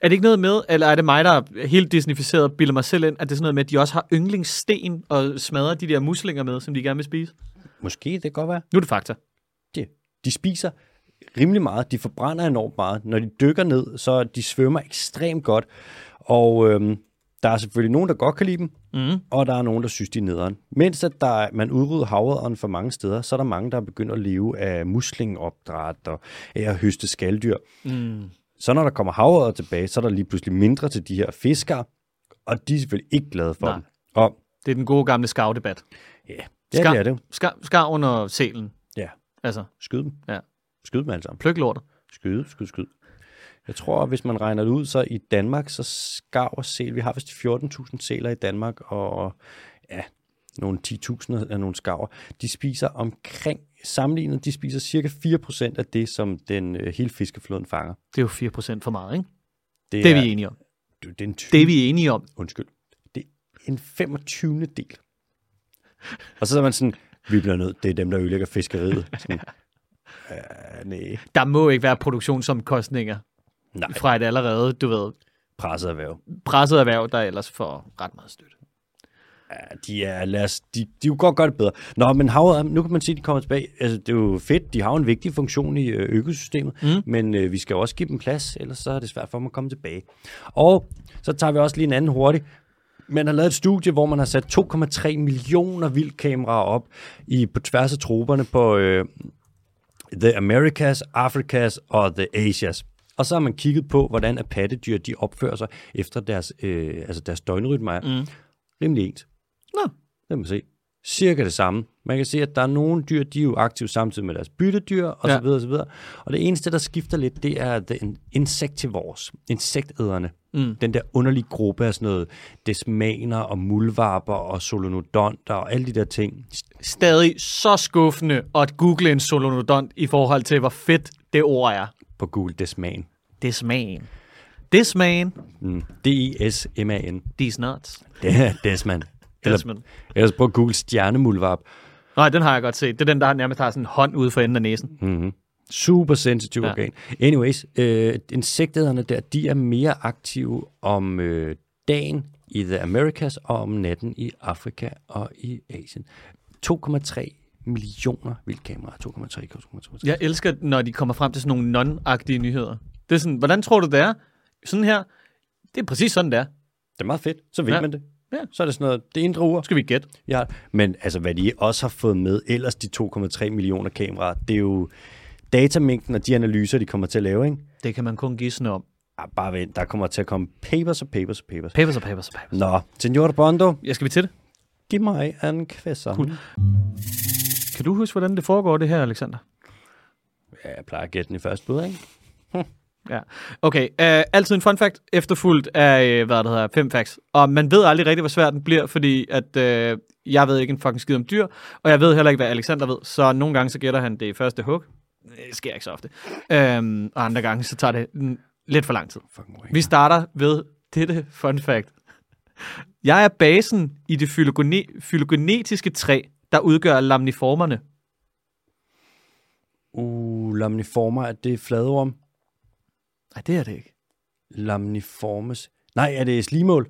Er det ikke noget med, eller er det mig, der er helt disnificeret og bilder mig selv ind, at det er sådan noget med, at de også har yndlingssten og smadrer de der muslinger med, som de gerne vil spise?
Måske det kan godt være.
Nu er det fakta.
Det. De spiser rimelig meget, de forbrænder enormt meget. Når de dykker ned, så de svømmer ekstremt godt. Og øhm, der er selvfølgelig nogen, der godt kan lide dem,
Mm.
og der er nogen, der synes, de er nederen. Mens at der, er- man udrydder havredderen for mange steder, så er der mange, der er begyndt at leve af muslingopdræt og af at høste skalddyr.
Mm.
Så når der kommer havredder tilbage, så er der lige pludselig mindre til de her fiskere, og de er selvfølgelig ikke glade for
Nej.
dem. Og
Det er den gode gamle skavdebat.
ja, ja det er det jo.
Ska- skarven og sælen.
Ja.
Altså,
Skyd dem.
Ja.
Skyd dem alle sammen.
pløklortet.
Skyde, skyde, skyde. Jeg tror, hvis man regner det ud, så i Danmark, så skarv og sæl. Vi har vist 14.000 sæler i Danmark, og ja, nogle 10.000 af nogle skarver. De spiser omkring, sammenlignet, de spiser cirka 4% af det, som den øh, hele fiskeflåden fanger.
Det er jo 4% for meget, ikke? Det er vi enige om.
Det, det er en ty-
Det er vi enige om.
Undskyld. Det er en 25. del. Og så er man sådan, vi bliver nødt, det er dem, der ødelægger fiskeriet. Sådan, ja, nej,
Der må ikke være produktionsomkostninger
nej,
fra et allerede, du ved,
presset erhverv.
presset erhverv, der ellers får ret meget støtte.
Ja, de er, lad os, de, de kunne godt gøre det bedre. Nå, men havet, nu kan man sige, at de kommer tilbage. Altså, det er jo fedt, de har jo en vigtig funktion i øh, økosystemet, mm. men øh, vi skal jo også give dem plads, ellers så er det svært for dem at komme tilbage. Og så tager vi også lige en anden hurtig. Man har lavet et studie, hvor man har sat 2,3 millioner vildkameraer op i, på tværs af troberne på øh, The Americas, Afrikas og The Asias. Og så har man kigget på, hvordan at pattedyr de opfører sig efter deres, øh, altså deres døgnrytme. Mm. Rimelig ens.
Nå,
Det kan man se. Cirka det samme. Man kan se, at der er nogle dyr, de er jo aktive samtidig med deres byttedyr, og
Ja.
så videre, og så videre. Og det eneste, der skifter lidt, det er den insectivores, insektæderne. Mm. Den der underlige gruppe af sådan noget desmaner og mulvarper og solenodonter og alle de der ting.
stadig så skuffende at google en solonodont i forhold til, hvor fedt det ord er.
På Google, desman.
Desman. Desman.
Mm. D-I-S-M-A-N.
These nuts.
Det er desman. Eller-
Desman.
Ellers prøv at google stjernemulvarp.
Nej, den har jeg godt set. Det er den, der nærmest har sådan en hånd ude for enden af næsen.
Super sensitiv
Ja.
ja. organ. Anyways, øh, insektæderne der, de er mere aktive om øh, dagen i The Americas og om natten i Afrika og i Asien. 2,3 millioner vildkameraer. 2,3, 2,3. Ja.
Jeg elsker, når de kommer frem til sådan nogle non-agtige nyheder. Det er sådan, hvordan tror du, det er? Sådan her. Det er præcis sådan, det er.
Det er meget fedt. Så ved
Ja.
ja. man det.
Ja.
Så er det sådan noget, det er indre ur.
Nu skal vi gætte.
Ja. Men altså, hvad de også har fået med, ellers de 2,3 millioner kameraer, det er jo datamængden og de analyser, de kommer til at lave, ikke?
Det kan man kun gisne om.
Ah, bare vent, der kommer til at komme papers og papers og papers.
Papers og papers og papers.
Nå, Senor Bondo,
Jeg skal vi til det?
Giv mig en kvisser. Cool.
Kan du huske, hvordan det foregår, det her, Alexander?
Ja, jeg plejer at gætte den i første bud, ikke?
Ja. Okay, øh, altid en fun fact, efterfulgt af, øh, hvad det hedder, fem facts. Og man ved aldrig rigtig, hvor svær den bliver, fordi at, øh, jeg ved ikke en fucking skid om dyr, og jeg ved heller ikke, hvad Alexander ved, så nogle gange så gætter han det i første hug. Øh, Det sker ikke så ofte. Øhm, og andre gange, så tager det mm, lidt for lang tid.
Fuck
Vi starter ved dette fun fact. Jeg er basen i det phylogene- phylogenetiske træ, der udgør lamniformerne.
Uh, lamniformer, er det fladorm?
Nej, det er det ikke.
Lamniformes. Nej, er det slimål?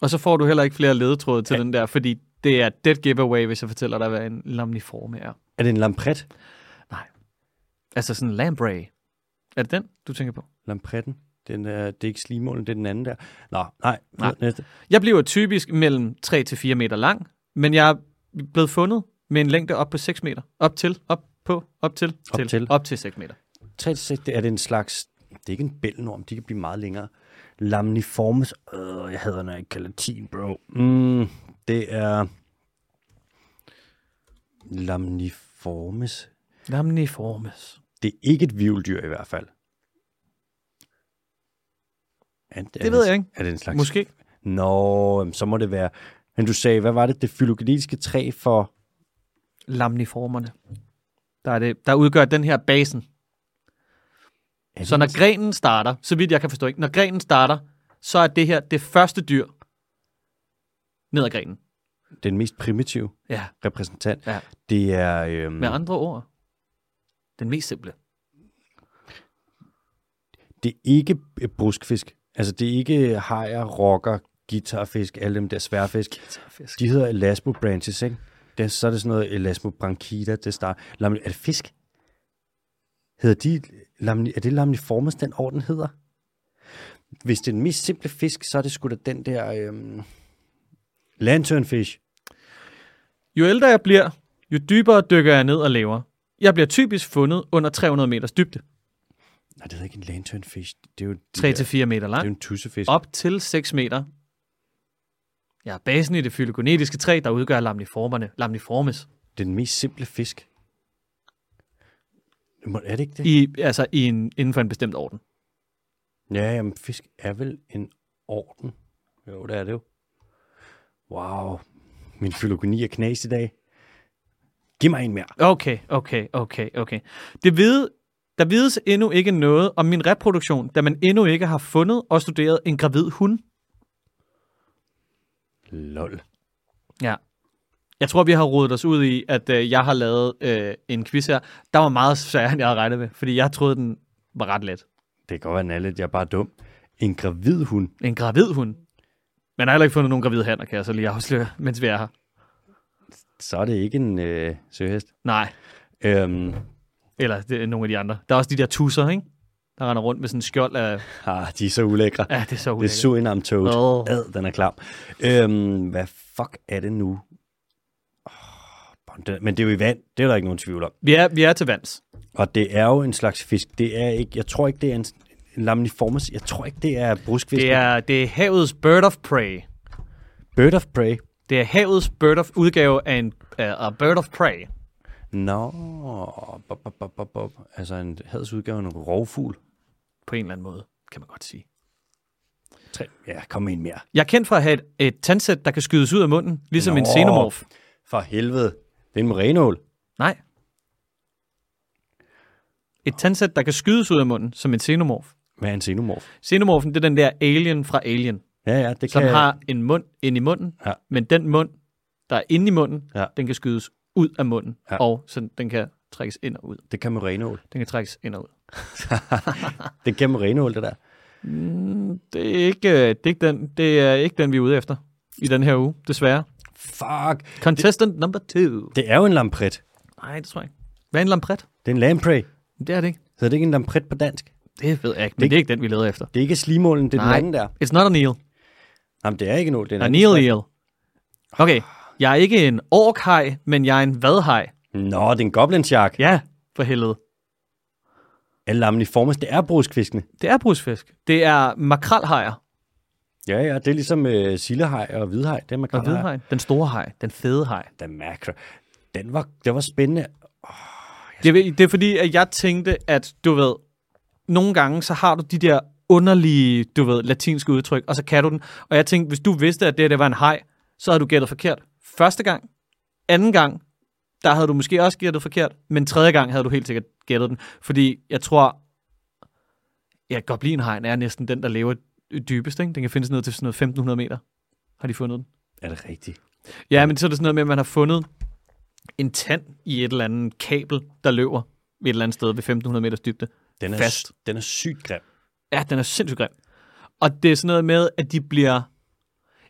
Og så får du heller ikke flere ledetråde til ja. den der, fordi det er dead giveaway, hvis jeg fortæller dig, hvad en lamniforme er.
Er det en lampret?
Altså sådan en lamprey. Er det den, du tænker på?
Lampretten? Den er, det er ikke slimålen, det er den anden der. Nå, nej.
Nej.
Næste.
Jeg bliver typisk mellem 3-4 meter lang, men jeg er blevet fundet med en længde op på 6 meter. Op til, op på, op til,
Op til.
op til 6 meter.
3 til 6, det er det en slags, det er ikke en bælgenorm, de kan blive meget længere. Lamniformes, øh, jeg hader, når jeg ikke kan latin, bro. Mm, det er lamniformes.
Lamniformes.
Det er ikke et vilddyr i hvert fald. Er det,
Det ved jeg ikke.
Er det en slags...
Måske.
Nå, jamen, så må det være... Men du sagde, hvad var det, det fylogenetiske træ for...
Lamniformerne. Der, er det, der udgør den her basen.
Er det
Så når grenen starter, så vidt jeg kan forstå ikke, når grenen starter, så er det her det første dyr ned ad grenen.
den mest primitive
Ja,
repræsentant.
Ja.
Det er... Øhm,
med andre ord. Den mest simple.
det er ikke et bruskfisk. Altså, det er ikke hajer, rocker, guitarfisk, alle dem der sværfisk.
Guitarfisk.
De hedder elasmobranches, ikke? Det, er- så er det sådan noget elasmobranchita, det starter. Lam, er det fisk? Hedder de, lam, er det lamniformes, den orden hedder? Hvis det er den mest simple fisk, så er det sgu da den der øhm, lanternfish.
Jo ældre jeg bliver, jo dybere dykker jeg ned og lever. Jeg bliver typisk fundet under 300 meters dybde.
Nej, det hedder ikke en lanternfish. Det er jo, de der-
3-4 meter
det er jo
lang.
en tussefisk.
Op til 6 meter. Jeg er basen i det fylogenetiske træ, der udgør lamniformerne. Lamniformes.
Det er den mest simple fisk. Må- Er det ikke det?
I, altså i en, inden for en bestemt orden.
Ja, jamen fisk er vel en orden. Jo, det er det jo. Wow. Min filogeni er knas i dag. Giv mig en mere.
Okay, okay, okay, okay. Det vide, der vides endnu ikke noget om min reproduktion, da man endnu ikke har fundet og studeret en gravid hund.
Lol.
Ja. Jeg tror, vi har rodet os ud i, at øh, jeg har lavet øh, en quiz her. Der var meget sværere, end jeg havde regnet med, fordi jeg troede, den var ret let.
Det kan godt være, den er lidt, jeg er bare dum. En gravid hund.
En gravid hund. Men jeg har heller ikke fundet nogen gravide hænder, kan jeg så lige afsløre, mens vi er her.
Så er det ikke en øh, søhest.
Nej,
Øhm,
eller det er nogle af de andre. Der er også de der tusser, ikke? Der render rundt med sådan en skjold af...
ah, de er så ulækre.
Ja, det er så
Det er
ulækkert.
Surinam Toad.
Åh.
Ad, den er klam. Øhm, hvad fuck er det nu? Oh, men det er jo i vand. Det er der ikke nogen tvivl om.
Vi er, vi er til vands.
Og det er jo en slags fisk. Det er ikke, jeg tror ikke, det er en en lamniformes. Jeg tror ikke, det er bruskfisk.
Det er, det er havets bird of prey.
bird of prey.
Det er havets bird of udgave af en uh, bird of prey.
Nå, bop, bop, bop, bop, bop. altså en hadsudgave af en rovfugl.
På en eller anden måde, kan man godt sige.
Tre. Ja, kom med en mere.
Jeg er kendt for at have et, et tandsæt, der kan skydes ud af munden, ligesom Nå. en
Nå.
xenomorf.
For helvede. Det er en morenål.
Nej. Et tandsæt, der kan skydes ud af munden, som en xenomorf.
Hvad er en xenomorf?
Xenomorfen, det er den der alien fra Alien,
Ja, ja, det
som
kan...
har en mund inde i munden,
Ja.
men den mund, der er inde i munden,
Ja.
den kan skydes ud af munden,
Ja.
og så den kan trækkes ind og ud.
Det kan morenål.
Den kan trækkes ind og ud.
Det kan morenål, det der.
Det er ikke, øh, det er ikke, den, det er ikke den, vi er ude efter i den her uge, desværre.
Fuck.
Contestant number two.
Det er jo en lampret.
Nej, det tror jeg ikke. Hvad er en lampret?
Det er en lamprey.
Det er det ikke.
Så det er ikke en lampret på dansk.
Det ved jeg ikke, men det, det er ikke den, vi leder efter.
Det er ikke slimålen, det er den
Nej.
anden der.
It's not an eel.
Jamen, det er ikke en ål, det er en
An
anden
eel
slags.
eel. Okay, jeg er ikke en orkhaj, men jeg er en vadhaj.
Nå, det er en goblinshark.
Ja, for helvede.
Er lamniformes, det er bruskfiskene.
Det er brusfisk. Det er makrelhajer
Ja, ja, det er ligesom øh, sillehaj og hvidhaj. Det er
og
makrelhaj.
hvidhaj. Den store haj. Den fede haj.
Den makro. Den var, det var spændende.
Det, er- det er fordi, at jeg tænkte, at du ved, nogle gange, så har du de der underlige, du ved, latinske udtryk, og så kan du den. Og jeg tænkte, hvis du vidste, at det, det var en haj, så havde du gættet forkert. Første gang, anden gang, der havde du måske også gættet forkert, men tredje gang havde du helt sikkert gættet den. Fordi jeg tror, ja, goblinhajen er næsten den, der lever dybest, ikke? Den kan findes ned til sådan noget 1500 meter, har de fundet den.
Er det rigtigt?
Ja, men så er det sådan noget med, at man har fundet en tand i et eller andet kabel, der løber et eller andet sted ved 1500 meters dybde.
Den er,
Fast.
den er sygt grim.
Ja, den er sindssygt grim. Og det er sådan noget med, at de bliver...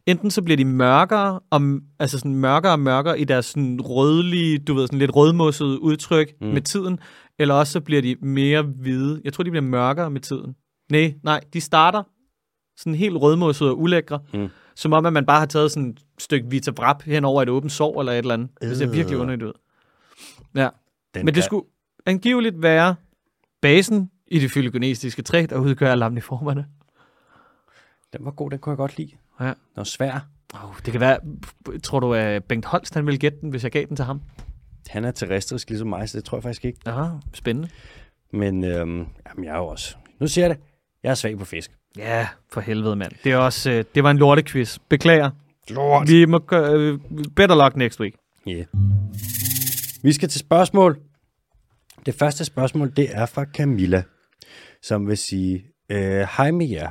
Enten så bliver de mørkere og, altså sådan mørkere og mørkere i deres sådan rødlige, du ved, sådan lidt rødmossede udtryk mm. med tiden, eller også så bliver de mere hvide. Jeg tror, de bliver mørkere med tiden. Nej, nej, de starter sådan helt rødmossede og ulækre, mm. Som om, at man bare har taget sådan et stykke vitabrap hen over et åbent sår eller et eller andet. Det ser
Øh.
virkelig underligt ud. Ja.
Den
Men
der-
det skulle angiveligt være basen i det filigonesiske træ, der udgør lamniformerne.
Den var god, den kunne jeg godt lide.
Ja.
Den var svær.
Oh, det kan være, tror du, at Bengt Holst han ville gætte den, hvis jeg gav den til ham?
Han er terrestrisk ligesom mig, så det tror jeg faktisk ikke.
Aha, spændende.
Men øhm, jamen, jeg er jo også... Nu siger jeg det. Jeg er svag på fisk.
Ja, for helvede, mand. Det, er også, øh, det var en lortequiz. Beklager.
Lort.
Vi må gøre, øh, better luck next week.
Yeah. Vi skal til spørgsmål. Det første spørgsmål, det er fra Camilla, som vil sige, øh, hej med jer.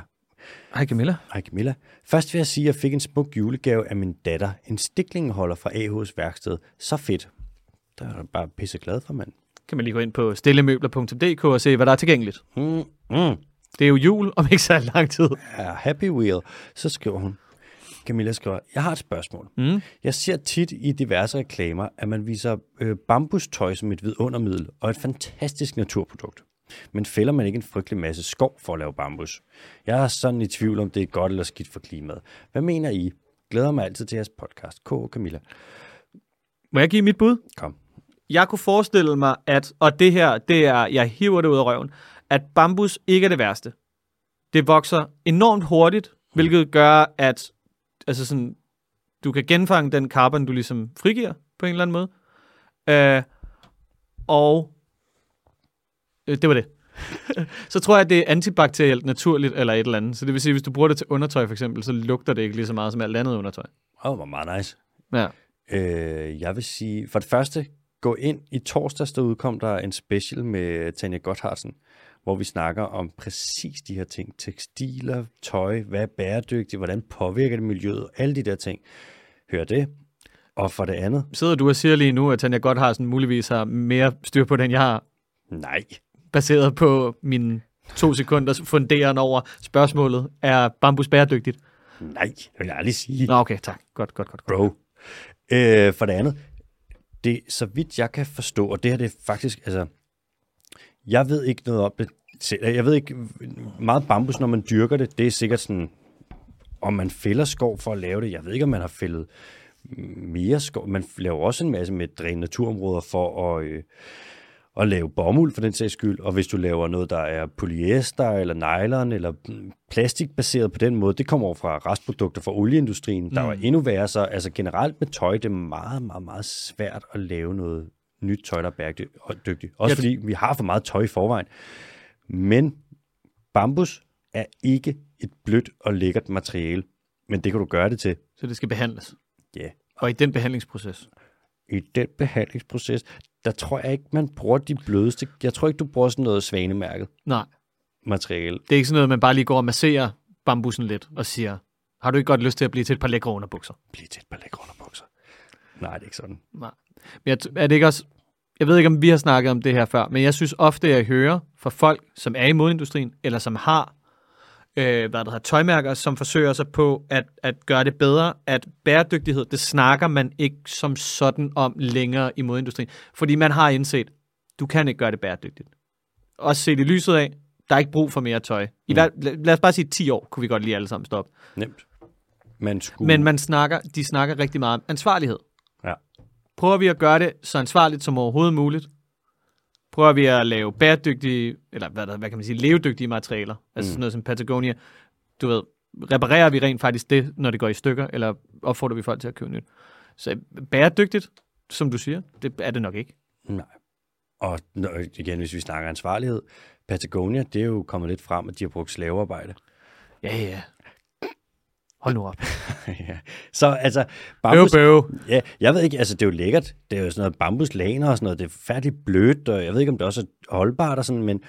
Hej Camilla.
Hej Camilla. Først vil jeg sige, at jeg fik en smuk julegave af min datter. En stiklingeholder fra AH's værksted. Så fedt. Der er jeg bare pisse glad for, mand.
Kan man lige gå ind på stillemøbler.dk og se, hvad der er tilgængeligt.
Mm, mm.
Det er jo jul om ikke så lang tid.
er Happy Wheel, så skriver hun, Camilla skriver, jeg har et spørgsmål.
Mm.
Jeg ser tit i diverse reklamer, at man viser øh, bambustøj som et vidundermiddel og et fantastisk naturprodukt. Men fælder man ikke en frygtelig masse skov for at lave bambus? Jeg er sådan i tvivl om, det er godt eller skidt for klimaet. Hvad mener I? Glæder mig altid til jeres podcast. K. Camilla,
Må jeg give mit bud?
kom.
Jeg kunne forestille mig, at, og det her, det er, jeg hiver det ud af røven, at bambus ikke er det værste. Det vokser enormt hurtigt, hvilket gør, at altså sådan, du kan genfange den carbon, du ligesom frigiver på en eller anden måde. Øh, og øh, det var det. så tror jeg, at det er antibakterielt naturligt eller et eller andet. Så det vil sige, at hvis du bruger det til undertøj for eksempel, så lugter det ikke lige så meget som alt andet undertøj.
Åh, oh, hvor meget nice.
Ja.
Øh, jeg vil sige, for det første, gå ind i torsdags, der udkom der en special med Tanja Gotthardsen, hvor vi snakker om præcis de her ting. Tekstiler, tøj, hvad er bæredygtigt, hvordan påvirker det miljøet, alle de der ting. Hør det. Og for det andet,
Sidder du og siger lige nu, at Tanja Godharsen muligvis har mere styr på det, end jeg har,
nej.
baseret på min to sekunders funderen over spørgsmålet, er bambus bæredygtigt?
Nej, det vil jeg aldrig sige.
Nå, okay, tak. Godt, godt, godt. godt.
Bro. Øh, for det andet, det, så vidt jeg kan forstå, og det her det er faktisk, altså, jeg ved ikke noget om det selv. Jeg ved ikke, meget bambus, når man dyrker det, det er sikkert sådan, om man fælder skov for at lave det. Jeg ved ikke, om man har fældet mere skov. Man laver også en masse med dræn naturområder for at, øh, at lave bomuld for den sags skyld, og hvis du laver noget, der er polyester eller nylon eller mm, plastikbaseret på den måde, det kommer over fra restprodukter fra olieindustrien, der var endnu værre, så altså generelt med tøj, det er meget, meget, meget svært at lave noget nyt tøj, der er bæredygtigt. og dygtigt. Også
Ja,
fordi vi har for meget tøj i forvejen. Men bambus er ikke et blødt og lækkert materiale, men det kan du gøre det til.
Så det skal behandles.
Ja. Yeah
Og i den behandlingsproces.
i den behandlingsproces, der tror jeg ikke, man bruger de blødeste. Jeg tror ikke, du bruger sådan noget svanemærket
Nej,
materiale.
det er ikke sådan noget, man bare lige går og masserer bambusen lidt og siger, har du ikke godt lyst til at blive til et par lækre underbukser?
Bliv til et par lækre underbukser. Nej, det er ikke sådan.
Nej. Men jeg, t- er det ikke også, jeg ved ikke, om vi har snakket om det her før, men jeg synes ofte, jeg hører fra folk, som er i modindustrien, eller som har øh, hvad der hedder, tøjmærker, som forsøger sig på at, at gøre det bedre, at bæredygtighed, det snakker man ikke som sådan om længere i modindustrien. Fordi man har indset, du kan ikke gøre det bæredygtigt. Også set i lyset af, der er ikke brug for mere tøj. I, hver, lad, lad os bare sige 10 år, kunne vi godt lige alle sammen stoppe.
Nemt. Man skulle...
Men man snakker, de snakker rigtig meget om ansvarlighed
Ja.
prøver vi at gøre det så ansvarligt som overhovedet muligt. Prøver vi at lave bæredygtige, eller hvad, der, hvad kan man sige, levedygtige materialer. Altså sådan noget som Patagonia. Du ved, reparerer vi rent faktisk det, når det går i stykker, eller opfordrer vi folk til at købe nyt? Så bæredygtigt, som du siger, det er det nok ikke.
Nej. Og nå, igen, hvis vi snakker ansvarlighed, Patagonia, det er jo kommet lidt frem, at de har brugt slavearbejde.
Ja, ja. Hold nu op.
ja. Så altså,
Bøv,
bambus,
bøv.
Ja, jeg ved ikke, altså det er jo lækkert. Det er jo sådan noget bambuslaner og sådan noget. Det er færdigt blødt, og jeg ved ikke, om det også er holdbart og sådan, men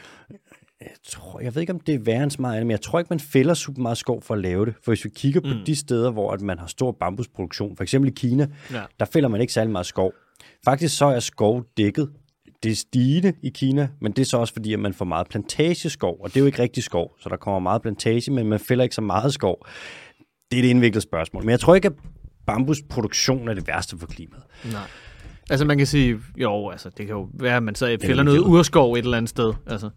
jeg, tror, jeg ved ikke, om det er værre end så meget andet, men jeg tror ikke, man fælder super meget skov for at lave det. For hvis vi kigger på de steder, hvor at man har stor bambusproduktion, for eksempel i Kina,
Ja.
der fælder man ikke særlig meget skov. Faktisk så er skov dækket. Det er stigende i Kina, men det er så også fordi, at man får meget plantageskov, og det er jo ikke rigtig skov, så der kommer meget plantage, men man fælder ikke så meget skov. Det er et indviklet spørgsmål. Men jeg tror ikke, at bambusproduktion er det værste for klimaet.
Nej. Altså man kan sige, jo, altså det kan jo være, at man så fælder
man
noget
fælder.
urskov et eller andet sted. Altså,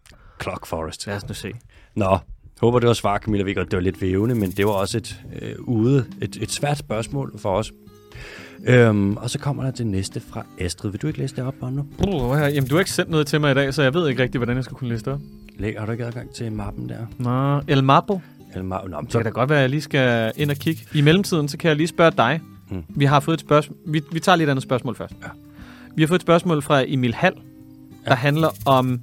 Clock Forest. Ja.
lad os nu se.
Nå, Håber, det var svar, Camilla Vigger. Det var lidt vævende, men det var også et, øh, ude, et, et svært spørgsmål for os. Øhm, og så kommer der det næste fra Astrid. Vil du ikke læse det op, Bono?
Puh, her- jamen, du har ikke sendt noget til mig i dag, så jeg ved ikke rigtig, hvordan jeg skal kunne læse det op.
Læg, har du ikke adgang til mappen der?
Nå, El Mapo.
Eller, ma- nå, men
Det
så,
kan da godt være, at jeg lige skal ind og kigge. I mellemtiden, så kan jeg lige spørge dig.
Mm.
Mm. Vi har fået et spørgsmål. Vi, vi tager lidt andet spørgsmål først.
Ja.
Vi har fået et spørgsmål fra Emil Hall, der handler om,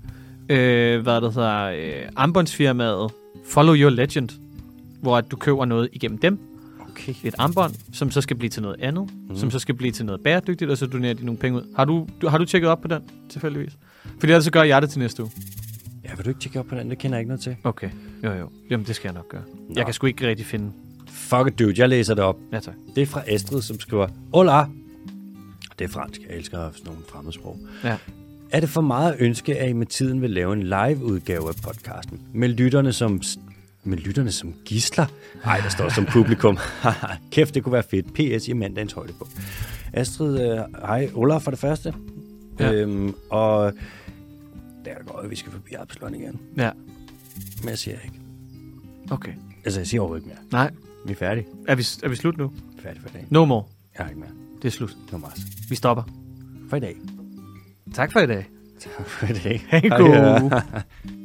øh, hvad det hedder, øh, armbåndsfirmaet Follow Your Legend, hvor at du køber noget igennem dem,
okay.
et armbånd, som så skal blive til noget andet,
Hmm.
mm. som så skal blive til noget bæredygtigt, og så donerer de nogle penge ud. Har du, du, har du tjekket op på den, tilfældigvis? Fordi ellers så gør jeg det til næste uge.
Ja, vil du ikke tjekke op på den? Det kender jeg ikke noget til.
Okay, jo jo. Jamen, det skal jeg nok gøre. Nå. Jeg kan sgu ikke rigtig finde.
Fuck it, dude. Jeg læser det op.
Ja, tak.
Det er fra Astrid, som skriver, Hola! Det er fransk. Jeg elsker sådan nogle fremmedsprog.
Ja.
Er det for meget at ønske, at I med tiden vil lave en live-udgave af podcasten? Med lytterne som, med lytterne som gisler? Ej, der står som publikum. Kæft, det kunne være fedt. PS i mandagens højde på. Astrid, øh, hej. Ola for det første. Ja.
Ja.
Øhm, og det er da godt, at vi skal forbi Absalon igen.
Ja,
Men jeg siger ikke.
okay.
Altså, jeg siger overhovedet ikke mere.
Nej.
Vi er færdige.
Er vi, er vi slut nu?
Færdige for i dag.
No more.
Jeg har ikke mere.
Det er slut.
Nu Mars.
Vi stopper.
For i dag.
Tak for i dag.
Tak for i uh, dag.
Hej,
Hej,
god.
ja.